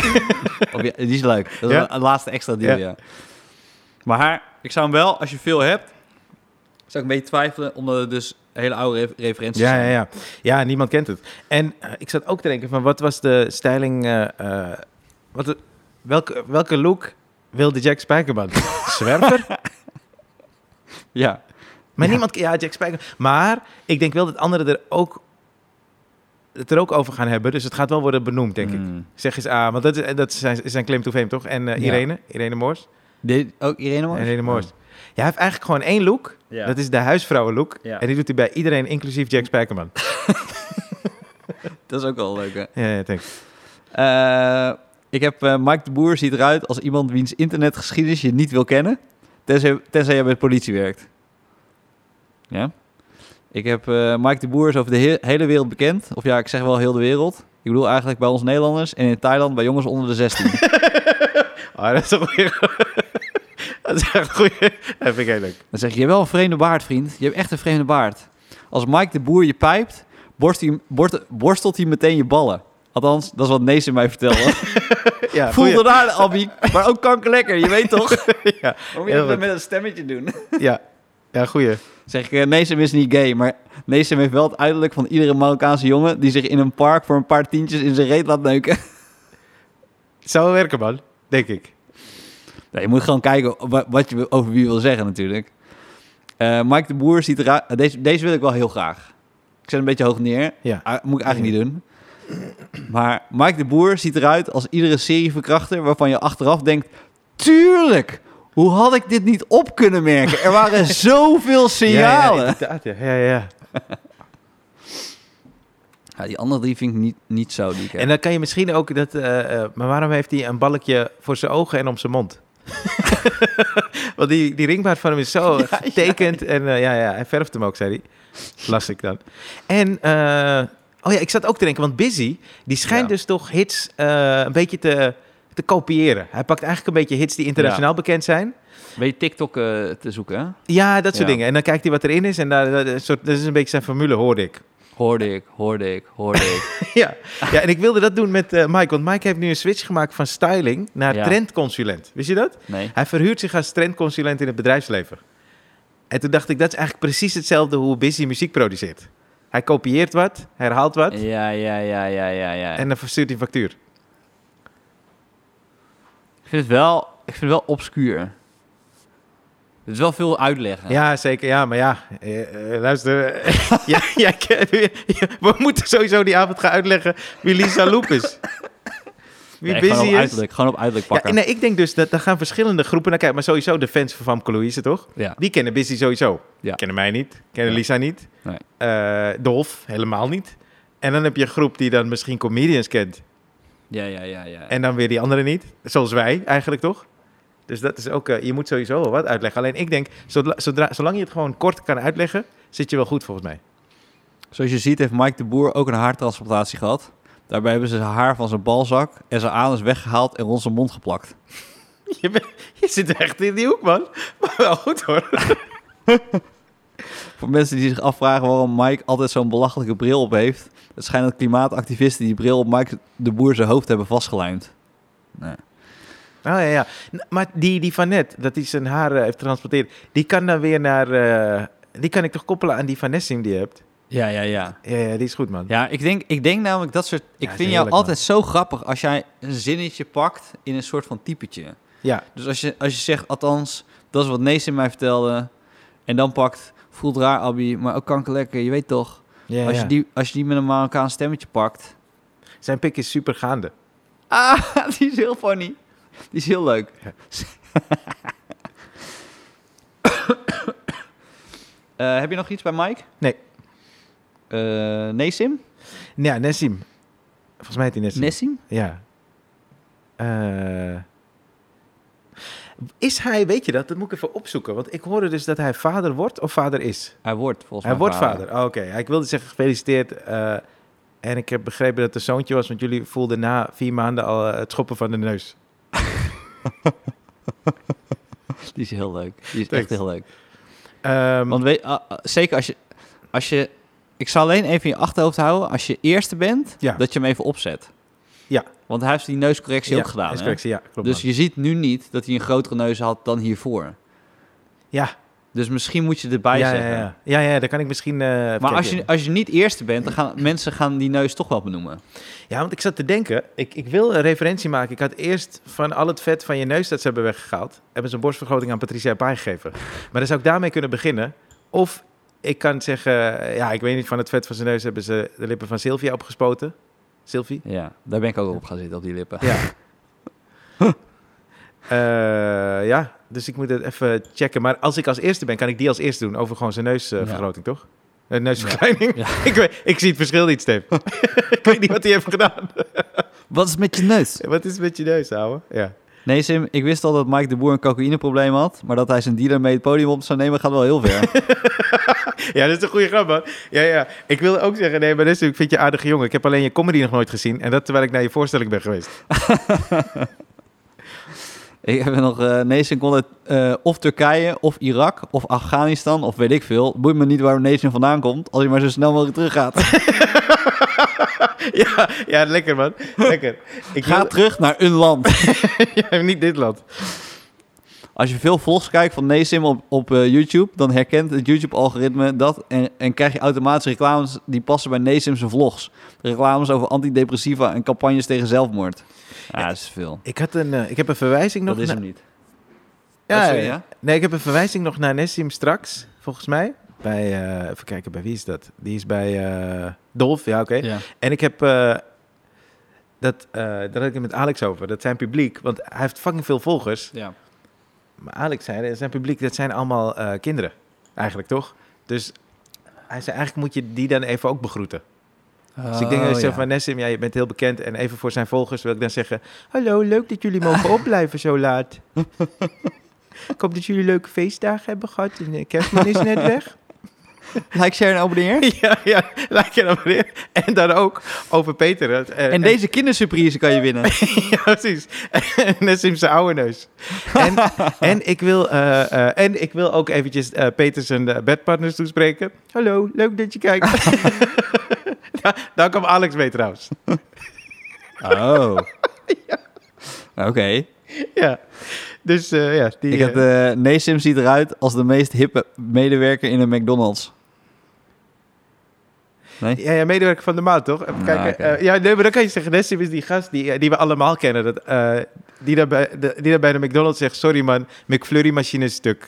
Of ja, die is leuk. Dat is Ja? een laatste extra deal, ja. Ja. Maar haar, ik zou hem wel, als je veel hebt, zou ik een beetje twijfelen, omdat het dus hele oude ref- referenties Ja, zijn. ja, ja. ja, niemand kent het. En eh, ik zat ook te denken van wat was de styling... eh, eh, wat, de- welke, welke look wilde Jack Spijkerman? Zwerver? Ja. Maar niemand... Ja, Jack Spijkerman. Maar ik denk wel dat anderen er ook, het er ook over gaan hebben. Dus het gaat wel worden benoemd, denk ik. Mm. Zeg eens A, want dat, is- dat is zijn, is zijn claim to fame, toch? En eh, Ja. Irene? Irene Moors? Dit, ook Irene Moors? Irene Moors. Ja, hij heeft eigenlijk gewoon één look. Ja. Dat is de huisvrouwenlook. Ja. En die doet hij bij iedereen, inclusief Jack Spijkerman. Dat is ook wel leuk, hè? ja, ja, thanks. Eh, ik heb eh, Mike de Boer ziet eruit als iemand wiens internetgeschiedenis je niet wil kennen, tenzij, tenzij je bij de politie werkt. Ja. Ik heb eh, Mike de Boer is over de he- hele wereld bekend, of ja, ik zeg wel heel de wereld. Ik bedoel eigenlijk bij ons Nederlanders en in Thailand bij jongens onder de 16. Ah, dat is een goeie. dat is echt een goeie. Dat vind ik heel leuk. Dan zeg je, je hebt wel een vreemde baard, vriend. Je hebt echt een vreemde baard. Als Mike de Boer je pijpt, borst hij- bort- borstelt hij meteen je ballen. Althans, dat is wat Nees mij vertelde. Ja, Voel goeie. de aan, Abby. Maar ook kankerlekker, je weet toch? Ja, Waarom je Heel dat goed. een stemmetje doen? ja. ja goeie. Zeg ik, eh, Nesem is niet gay, maar Nesem heeft wel het uiterlijk van iedere Marokkaanse jongen... die zich in een park voor een paar tientjes in zijn reet laat neuken. Zou wel werken, man. Denk ik. Nee, je moet gewoon kijken wa- wat je over wie wil zeggen natuurlijk. Eh, Mike de Boer ziet eruit... Deze, deze wil ik wel heel graag. Ik zet hem een beetje hoog neer. Ja. Ah, moet ik eigenlijk niet doen. Maar Mike de Boer ziet eruit als iedere serieverkrachter... waarvan je achteraf denkt... Tuurlijk! Hoe had ik dit niet op kunnen merken? Er waren zoveel Ja, ja, signalen. inderdaad, ja. ja, ja. Ja, die andere drie vind ik niet, niet zo. Die ik heb. En dan kan je misschien ook dat. eh, eh, maar waarom heeft hij een balkje voor zijn ogen en om zijn mond? Want die, die ringbaard van hem is zo getekend. En eh, ja, ja, hij verft hem ook, zei hij. Las ik dan. En. eh, oh ja, ik zat ook te denken, want Busy, die schijnt Ja. dus toch hits eh, een beetje te, te kopiëren. Hij pakt eigenlijk een beetje hits die internationaal bekend zijn. Weet je TikTok eh, te zoeken, hè? Ja, dat soort Ja. dingen. En dan kijkt hij wat erin is. En daar, dat, is een soort, dat is een beetje zijn formule, hoorde ik. Hoorde ik, hoorde ik, hoorde ik. Ja. ja, en ik wilde dat doen met eh, Mike. Want Mike heeft nu een switch gemaakt van styling naar Ja. trendconsulent. Wist je dat? Nee. Hij verhuurt zich als trendconsulent in het bedrijfsleven. En toen dacht ik, dat is eigenlijk precies hetzelfde hoe Busy muziek produceert. Hij kopieert wat, herhaalt wat Ja, ja, ja, ja, ja, ja. en dan verstuurt hij factuur. Ik vind het wel, ik vind het wel obscuur. Het is wel veel uitleggen. Ja, zeker. Ja, maar ja, eh, eh, luister. eh, ja, ja, ik- we moeten sowieso die avond gaan uitleggen wie Lisa Loep is. Wie Nee, Busy gewoon op is. uiterlijk, gewoon op uiterlijk Ja, pakken. en, nee, ik denk dus dat daar gaan verschillende groepen naar kijken. Maar sowieso de fans van Famke Louise, toch? Ja. Die kennen Busy sowieso. Ja. Kennen mij niet. Kennen Ja. Lisa niet. Nee. Eh, Dolf helemaal niet. En dan heb je een groep die dan misschien comedians kent. ja, ja, ja, ja. En dan weer die anderen niet. Zoals wij eigenlijk, toch? Dus dat is ook... eh, je moet sowieso wel wat uitleggen. Alleen ik denk, zodra, zodra- zolang je het gewoon kort kan uitleggen... zit je wel goed volgens mij. Zoals je ziet heeft Mike de Boer ook een haartransplantatie gehad. Daarbij hebben ze zijn haar van zijn balzak en zijn anus weggehaald en rond zijn mond geplakt. Je, bent- je zit echt in die hoek, man. Maar wel goed, hoor. Voor mensen die zich afvragen waarom Mike altijd zo'n belachelijke bril op heeft... het schijnt dat klimaatactivisten die bril op Mike de Boer zijn hoofd hebben vastgelijmd. Nee. Oh ja, ja. N- Maar die, die van net, dat hij zijn haar eh, heeft transporteerd, die kan dan weer naar. eh, die kan ik toch koppelen aan die van Nessim die je hebt? Ja, ja, ja. Ja, ja, die is goed, man. Ja, ik denk, ik denk namelijk dat soort. Ik is vind jou heerlijk, altijd zo grappig als jij een zinnetje pakt in een soort van typetje. Ja, Dus als je, als je zegt, althans, dat is wat Nees in mij vertelde. En dan pakt, voelt raar, Abby, maar ook kanker lekker, je weet toch. ja, als, je ja. die, als je die met een Marokkaans stemmetje pakt. Zijn pik is super gaande. Ah, die is heel funny. Die is heel leuk. Ja. Eh, heb je nog iets bij Mike? Nee. Eh Nesim? Ja, Nessim. Volgens mij heet hij Nessim. Nesim? ja. Eh, is hij, weet je dat? Dat moet ik even opzoeken. Want ik hoorde dus dat hij vader wordt of vader is. Hij wordt volgens mij hij wordt vader. Oh, Oké, ik wilde zeggen gefeliciteerd. eh, en ik heb begrepen dat het een zoontje was, want jullie voelden na vier maanden al eh, het schoppen van de neus. Die is heel leuk. Die is Thanks. echt heel leuk. Ehm, Want weet, ah, ah, zeker als je, als je... Ik zal alleen even in je achterhoofd houden... als je eerste bent, Ja. dat je hem even opzet. Ja. Want hij heeft die neuscorrectie ook ja, gedaan. is hè? correctie, ja, klopt. Dus Dus je ziet nu niet dat hij een grotere neus had dan hiervoor. ja, Dus misschien moet je erbij ja, ja, zeggen. ja, ja, ja, daar kan ik misschien. eh, even Maar kijken. als je, als je niet eerste bent, dan gaan mensen gaan die neus toch wel benoemen. Ja, want ik zat te denken, ik, ik wil een referentie maken. Ik had eerst van al het vet van je neus dat ze hebben weggehaald, hebben ze een borstvergroting aan Patricia Pai gegeven. Maar dan zou ik daarmee kunnen beginnen. Of ik kan zeggen, ja, ik weet niet, van het vet van zijn neus hebben ze de lippen van Sylvia opgespoten. Sylvie? Ja, daar ben ik ook op gaan zitten, op die lippen. Ja. Eh, ja, dus ik moet het even checken. Maar als ik als eerste ben, kan ik die als eerste doen over gewoon zijn neusvergroting, toch? Eh, neusverkleining. Ja. ik, weet, ik zie het verschil niet, Steve. ik weet niet wat hij heeft gedaan. Wat is met je neus? wat is het met je neus, ouwe? Ja. Nee, Sim, ik wist al dat Mike de Boer een cocaïneprobleem had... maar dat hij zijn dealer mee het podium op zou nemen gaat wel heel ver. ja, dat is een goede grap, man. Ja, ja. Ik wil ook zeggen, nee, maar dat is, ik vind je een aardige jongen. Ik heb alleen je comedy nog nooit gezien. En dat terwijl ik naar je voorstelling ben geweest. ik heb nog... eh Neesim kon het eh, of Turkije, of Irak, of Afghanistan, of weet ik veel. Boeit me niet waar Neesim vandaan komt... als hij maar zo snel mogelijk teruggaat. ja, ja, lekker, man. Lekker. Ik Ga wil terug naar een land. ja, niet dit land. Als je veel vlogs kijkt van Nesim op, op eh, YouTube, dan herkent het YouTube-algoritme dat en, en krijg je automatisch reclames die passen bij Nesim's vlogs. Reclames over antidepressiva en campagnes tegen zelfmoord. Ja, dat is veel. Ik, had een, eh, ik heb een verwijzing nog Dat is naar- hem niet. Ja, Oh, sorry, ja. ja? Nee, ik heb een verwijzing nog naar Nessim straks, volgens mij. Bij, eh, even kijken, bij wie is dat? Die is bij eh Dolf, ja oké. Ja. En ik heb, eh, dat, eh, daar had ik het met Alex over, dat zijn publiek, want hij heeft fucking veel volgers. Ja. Maar Alex zei, zijn publiek, dat zijn allemaal eh, kinderen, eigenlijk toch? Dus hij zei, eigenlijk moet je die dan even ook begroeten. Dus ik denk Oh, dat ik zeg van Nessim, ja, je bent heel bekend. En even voor zijn volgers wil ik dan zeggen... Hallo, leuk dat jullie mogen opblijven zo laat. ik hoop dat jullie leuke feestdagen hebben gehad. En eh, kerstman is net weg. Like, share en abonneer. ja, ja, laat je dan maar in. En dan ook over Peter. dat, eh, En deze kindersurprise kan je winnen. Ja, precies. Nessim zijn oude neus. En, en, ik wil, eh, eh, en ik wil ook eventjes eh, Peter zijn eh, bedpartners toespreken. Hallo, leuk dat je kijkt. daar, daar kwam Alex mee trouwens. Oh. Oké. Ja, dus eh, ja, die... Ik had, eh, eh Nesim ziet eruit als de meest hippe medewerker in een McDonald's. Nee? ja, ja, medewerker van de maand, toch? Nou, Even kijken. eh, oké. Eh, ja, nee, maar dan kan je zeggen, Nessim is die gast die, eh, die we allemaal kennen. Dat, eh, die, daar bij de, die daar bij de McDonald's zegt, sorry man, McFlurry-machine is stuk.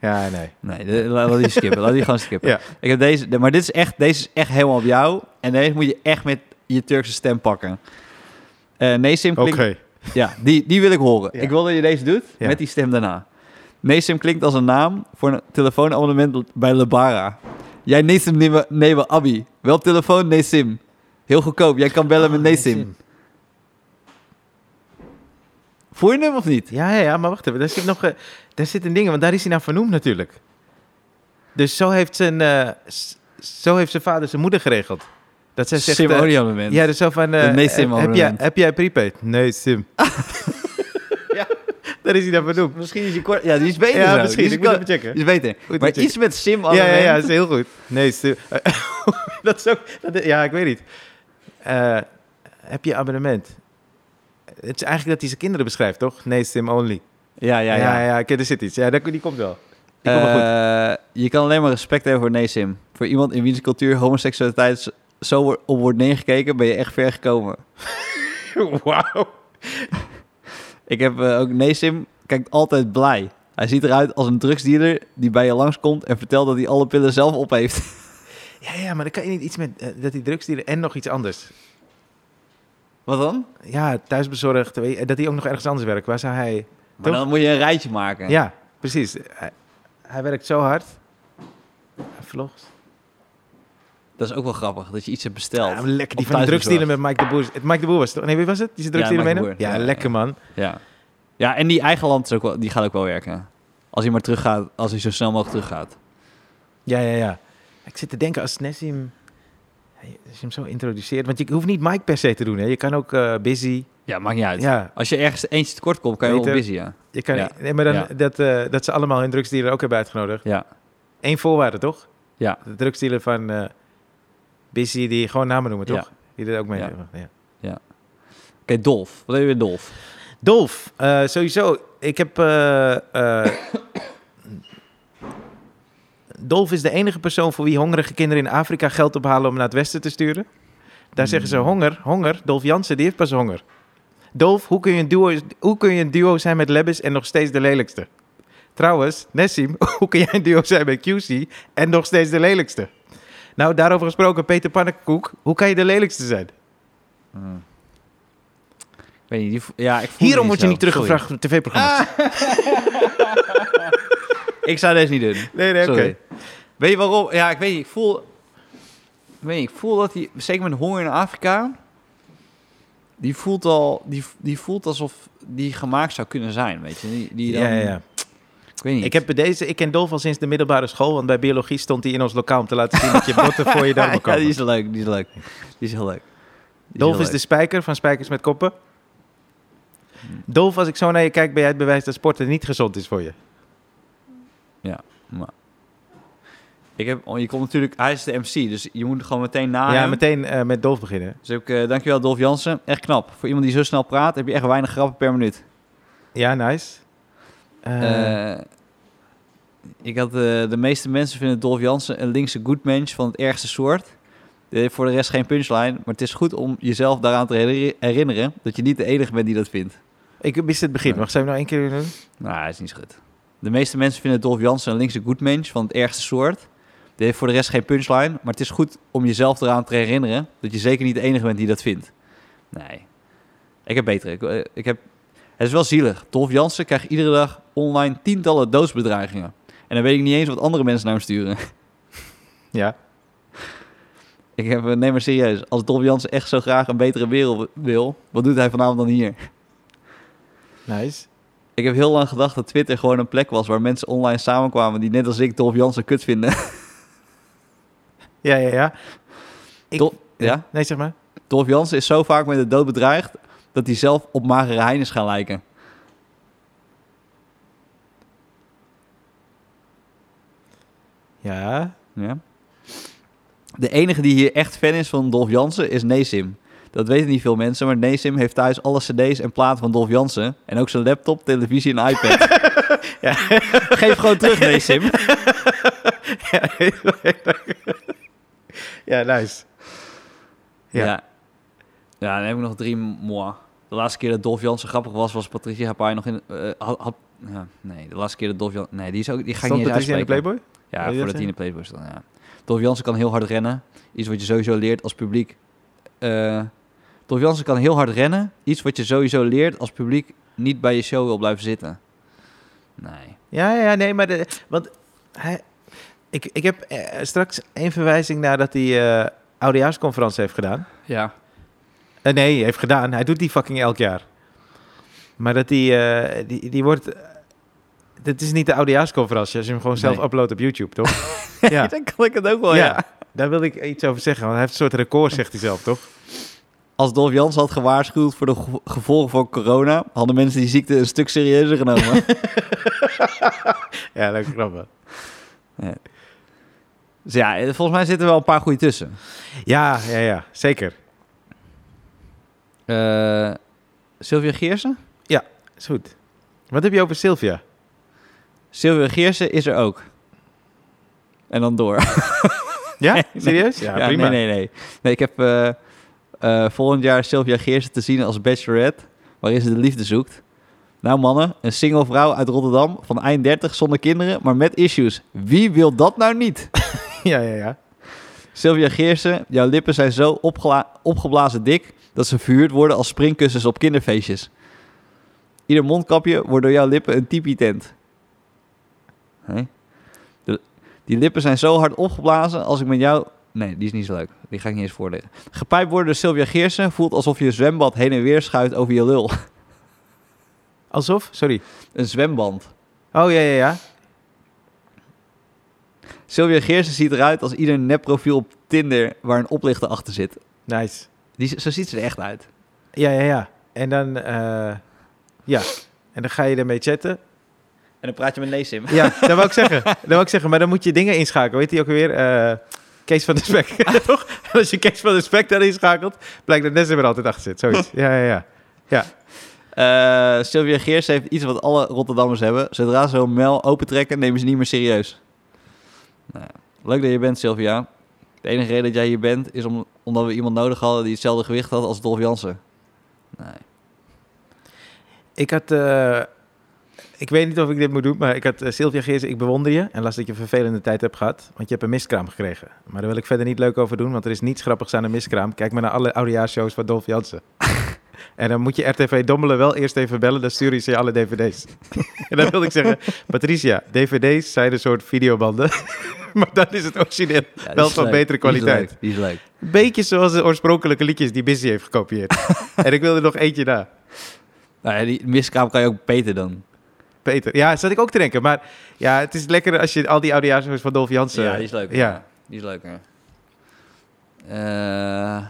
ja, nee. Nee, de- la- laat die skippen. laat die gewoon skippen. Ja. Ik heb deze, de- maar dit is, echt, deze is echt helemaal op jou. En deze moet je echt met je Turkse stem pakken. Eh Nesim Oké. klinkt... Ja, die, die wil ik horen. Ja. Ik wil dat je deze doet Ja. met die stem daarna. Nesim klinkt als een naam voor een telefoonabonnement bij Lebara. Jij Nesim nemen, nemen Abi. Wel telefoon Nesim. Heel goedkoop. Jij kan bellen met Ah, Nesim. Voel je hem of niet? Ja, ja, ja, maar wacht even. Daar zit nog eh, daar zit een ding, want daar is hij naar vernoemd natuurlijk. Dus zo heeft zijn, eh, s- zo heeft zijn vader zijn moeder geregeld. Dat zij zegt... eh, Sim-abonnement. ja, dus zo van... eh, De nee eh, sim heb, jij, abonnement. heb jij prepaid? Nee, sim. ja, daar is hij naar vernoemd. Misschien is die kort... Ja, die is beter Ja, zo. misschien. Die is, Ik moet ko- even checken. Die is beter. even maar checken. iets met sim Ja, ja, abonnement. ja, dat is heel goed. Nee, sim. dat is ook... dat is- ja, ik weet niet. Eh, heb je abonnement? Het is eigenlijk dat hij zijn kinderen beschrijft, toch? Nee, sim only. ja, ja, Ja, ja. ja, ja. oké, daar zit iets. Ja, dat- die komt wel. Die komt wel goed. Eh, je kan alleen maar respect hebben voor Nesim. Voor iemand in wiens cultuur homoseksualiteit zo- zo wordt- op wordt neergekeken, ben je echt ver gekomen. Wauw. Ik heb eh, ook Nesim, kijkt altijd blij. Hij ziet eruit als een drugsdealer die bij je langskomt en vertelt dat hij alle pillen zelf op heeft. Ja, ja, maar dan kan je niet iets met eh, dat die drugsdealer en nog iets anders. Wat dan? Ja, thuisbezorgd, weet je, dat hij ook nog ergens anders werkt. Waar zou hij... Maar Toch? dan moet je een rijtje maken. Ja, precies. Hij, hij werkt zo hard. Hij vlogt. Dat is ook wel grappig, dat je iets hebt besteld. Ja, maar lekker, die Op van die thuisbezorgd. drugsdealer met Mike de Boer. Het Mike de Boer was het toch? Nee, wie was het? Die zijn Ja, drugsdealer Mike de meenam? Boer. Ja, Ja, lekker man. Ja. ja, en die eigen land is ook wel, die gaat ook wel werken. Als hij maar teruggaat, als hij zo snel mogelijk teruggaat. Ja, ja, ja. Ik zit te denken, als Nessim... hij- Als je hem zo introduceert... Want je hoeft niet Mike per se te doen, hè. Je kan ook eh, Busy. Ja, maakt niet uit. Ja, Als je ergens eentje tekort komt, kan je wel Beter. busy, ja. je kan... Ja. Nee, maar dan, Ja. dat, eh, dat ze allemaal hun drugsdealer ook hebben uitgenodigd. Ja, Eén voorwaarde, toch? Ja. De drugsdealer van eh Busy, die gewoon namen noemen, toch? Die er ook mee. Ja. Ja. Ja. Oké, Dolf. Wat heb je met Dolf? Dolf, eh, sowieso. Ik heb... eh, eh, Dolf is de enige persoon voor wie hongerige kinderen in Afrika geld ophalen om naar het westen te sturen. Daar zeggen ze honger, honger. Dolf Jansen, die heeft pas honger. Dolf, hoe kun je een duo, hoe kun je een duo zijn met Lebbes en nog steeds de lelijkste? Trouwens, Nessim, hoe kun jij een duo zijn met QC en nog steeds de lelijkste? Nou, daarover gesproken, Peter Pannenkoek, hoe kan je de lelijkste zijn? Ik weet niet. Die, vo- ja, ik voel Hierom me word je zo. Ah, niet teruggevraagd op tv-programma's. Sorry. Ik zou deze niet doen. nee, nee, oké. Sorry. Weet je waarom? Ja, ik weet niet. Ik voel... Ik weet niet. Ik voel dat die... Zeker met honger in Afrika... Die voelt al... Die, die voelt alsof die gemaakt zou kunnen zijn, weet je. Die, die dan, Ja, ja, ja. Ik weet niet. Ik heb bij deze, ik ken Dolf al sinds de middelbare school, want bij biologie stond hij in ons lokaal om te laten zien dat je botten voor je darmen ja, komen. die is leuk. Die is leuk. Die is heel leuk. Die Dolf heel is dus- de leuk. spijker van Spijkers met Koppen. Dolf, als ik zo naar je kijk, ben jij het bewijs dat sporten niet gezond is voor je. Ik heb... oh, je komt natuurlijk... Hij is de MC, dus je moet gewoon meteen na ja, hem. meteen eh, met Dolf beginnen. Dus ook, eh, dankjewel Dolf Jansen. Echt knap. Voor iemand die zo snel praat, heb je echt weinig grappen per minuut. Ja, nice. Eh, Eh, ik had, eh, de meeste mensen vinden Dolph Jansen een linkse good mensch van het ergste soort. Die heeft voor de rest geen punchline, maar het is goed om jezelf daaraan te herinner- herinneren dat je niet de enige bent die dat vindt. ik mis het begin. eh. Mag zij hem nou één keer doen? Nou, dat is niet zo goed. De meeste mensen vinden Dolph Jansen een linkse good mensch van het ergste soort. Die heeft voor de rest geen punchline, maar het is goed om jezelf eraan te herinneren dat je zeker niet de enige bent die dat vindt. Nee, ik heb betere. Ik, eh, ik heb... Het is wel zielig. Dolph Jansen krijgt iedere dag online tientallen doodsbedreigingen. En dan weet ik niet eens wat andere mensen naar hem sturen. Ja. Ik heb, eh, neem maar serieus, als Dolph Jansen echt zo graag een betere wereld wil, wat doet hij vanavond dan hier? Nice. Ik heb heel lang gedacht dat Twitter gewoon een plek was waar mensen online samenkwamen die net als ik Dolph Jansen kut vinden. Ja, ja, ja. Ik- Dol- ja? Nee, zeg maar. Dolph Jansen is zo vaak met de dood bedreigd dat hij zelf op magere hein is gaan lijken. Ja. Ja? De enige die hier echt fan is van Dolph Jansen is Nesim. Dat weten niet veel mensen, maar Nesim heeft thuis alle cd's en platen van Dolph Jansen. En ook zijn laptop, televisie en iPad. Geef gewoon terug, Nesim. Ja, nice. Ja. Ja. ja. dan heb ik nog drie mois. De laatste keer dat Dolph Jansen grappig was, was Patricia Hapai nog in... eh, had, had- ja, nee, de laatste keer dat Dolph Jansen... Nee, die, is ook, die ga ik Stond niet eens Patricia in de uitspreken. Playboy? Ja, Wil je dat voordat hij in de Playboy stond, ja. Dolph Jansen kan heel hard rennen. Iets wat je sowieso leert als publiek. Eh Dolph Jansen kan heel hard rennen. Iets wat je sowieso leert als publiek niet bij je show wil blijven zitten. Nee. Ja, ja, ja, nee, maar... De, want hij, ik, ik heb eh, straks één verwijzing naar dat hij eh oudejaarsconferentie heeft gedaan. Ja. Eh, nee, heeft gedaan. Hij doet die fucking elk jaar. Maar dat die, eh, die, die wordt... Dit is niet de oudejaarsconferentie als je hem gewoon zelf Nee. uploadt op YouTube, toch? ja. Dan kan ik het ook wel, ja. ja. daar wil ik iets over zeggen. Want hij heeft een soort record, zegt hij zelf, toch? Als Dolph Jansen had gewaarschuwd voor de ge- gevolgen van corona... hadden mensen die ziekte een stuk serieuzer genomen. Ja, dat grappig. dus ja, eh, volgens mij zitten er wel een paar goede tussen. Ja, ja, ja, zeker. Eh Sylvia Geersen? Is goed. Wat heb je over Sylvia? Sylvia Geersen is er ook. En dan door. Ja? nee. Serieus? Ja, prima. Nee, nee, nee. nee ik heb eh, eh, volgend jaar Sylvia Geersen te zien als bachelorette, waarin ze de liefde zoekt. Nou mannen, een single vrouw uit Rotterdam van eind 30 zonder kinderen, maar met issues. Wie wil dat nou niet? Ja, ja, ja. Sylvia Geersen, jouw lippen zijn zo opgela- opgeblazen dik dat ze verhuurd worden als springkussens op kinderfeestjes. Ieder mondkapje wordt door jouw lippen een tipi-tent. Hé? De- Die lippen zijn zo hard opgeblazen als ik met jou... Nee, die is niet zo leuk. Die ga ik niet eens voorleggen. Gepijpt worden door Sylvia Geersen voelt alsof je een zwembad heen en weer schuift over je lul. Alsof? Sorry. Een zwemband. Oh, ja, ja, ja. Sylvia Geersen ziet eruit als ieder nepprofiel op Tinder waar een oplichter achter zit. Nice. Die, zo ziet ze er echt uit. Ja, ja, ja. En dan... eh, ja. En dan ga je ermee chatten. En dan praat je met Neesim. Ja, dat wou ik zeggen. Dat wou ik zeggen. Maar dan moet je dingen inschakelen. Weet je ook weer? eh Kees van de Spek. Toch? Als je Kees van de Spek daar inschakelt, blijkt dat Nessim er altijd achter zit. Zoiets. Ja, ja, ja. Eh, Sylvia Geers heeft iets wat alle Rotterdammers hebben. Zodra ze hun mel opentrekken, nemen ze niet meer serieus. Nou, leuk dat je bent, Sylvia. De enige reden dat jij hier bent, is om, omdat we iemand nodig hadden die hetzelfde gewicht had als Dolph Jansen. Nee. Ik had... eh, ik weet niet of ik dit moet doen, maar ik had eh, Sylvia Geersen, ik bewonder je. En las dat je een vervelende tijd hebt gehad, want je hebt een miskraam gekregen. Maar daar wil ik verder niet leuk over doen, want er is niets grappigs aan een miskraam. Kijk maar naar alle oudejaarsshows van Dolph Jansen. en dan moet je RTV Dommelen wel eerst even bellen, dan sturen ze je alle dvd's. en dan wil ik zeggen, Patricia, dvd's zijn een soort videobanden. maar dat is het origineel. Ja, die Wel is van leuk. betere Die is kwaliteit. leuk, Die is leuk. Beetje zoals de oorspronkelijke liedjes die Busy heeft gekopieerd. en ik wil er nog eentje na. Nou ja, die miskraam kan je ook beter dan. Peter. Ja, zat ik ook te denken. Maar ja, het is lekker als je al die oudejaarsnummers van Dolph Jansen... Ja, die is leuk. Ja. die is leuker. Eh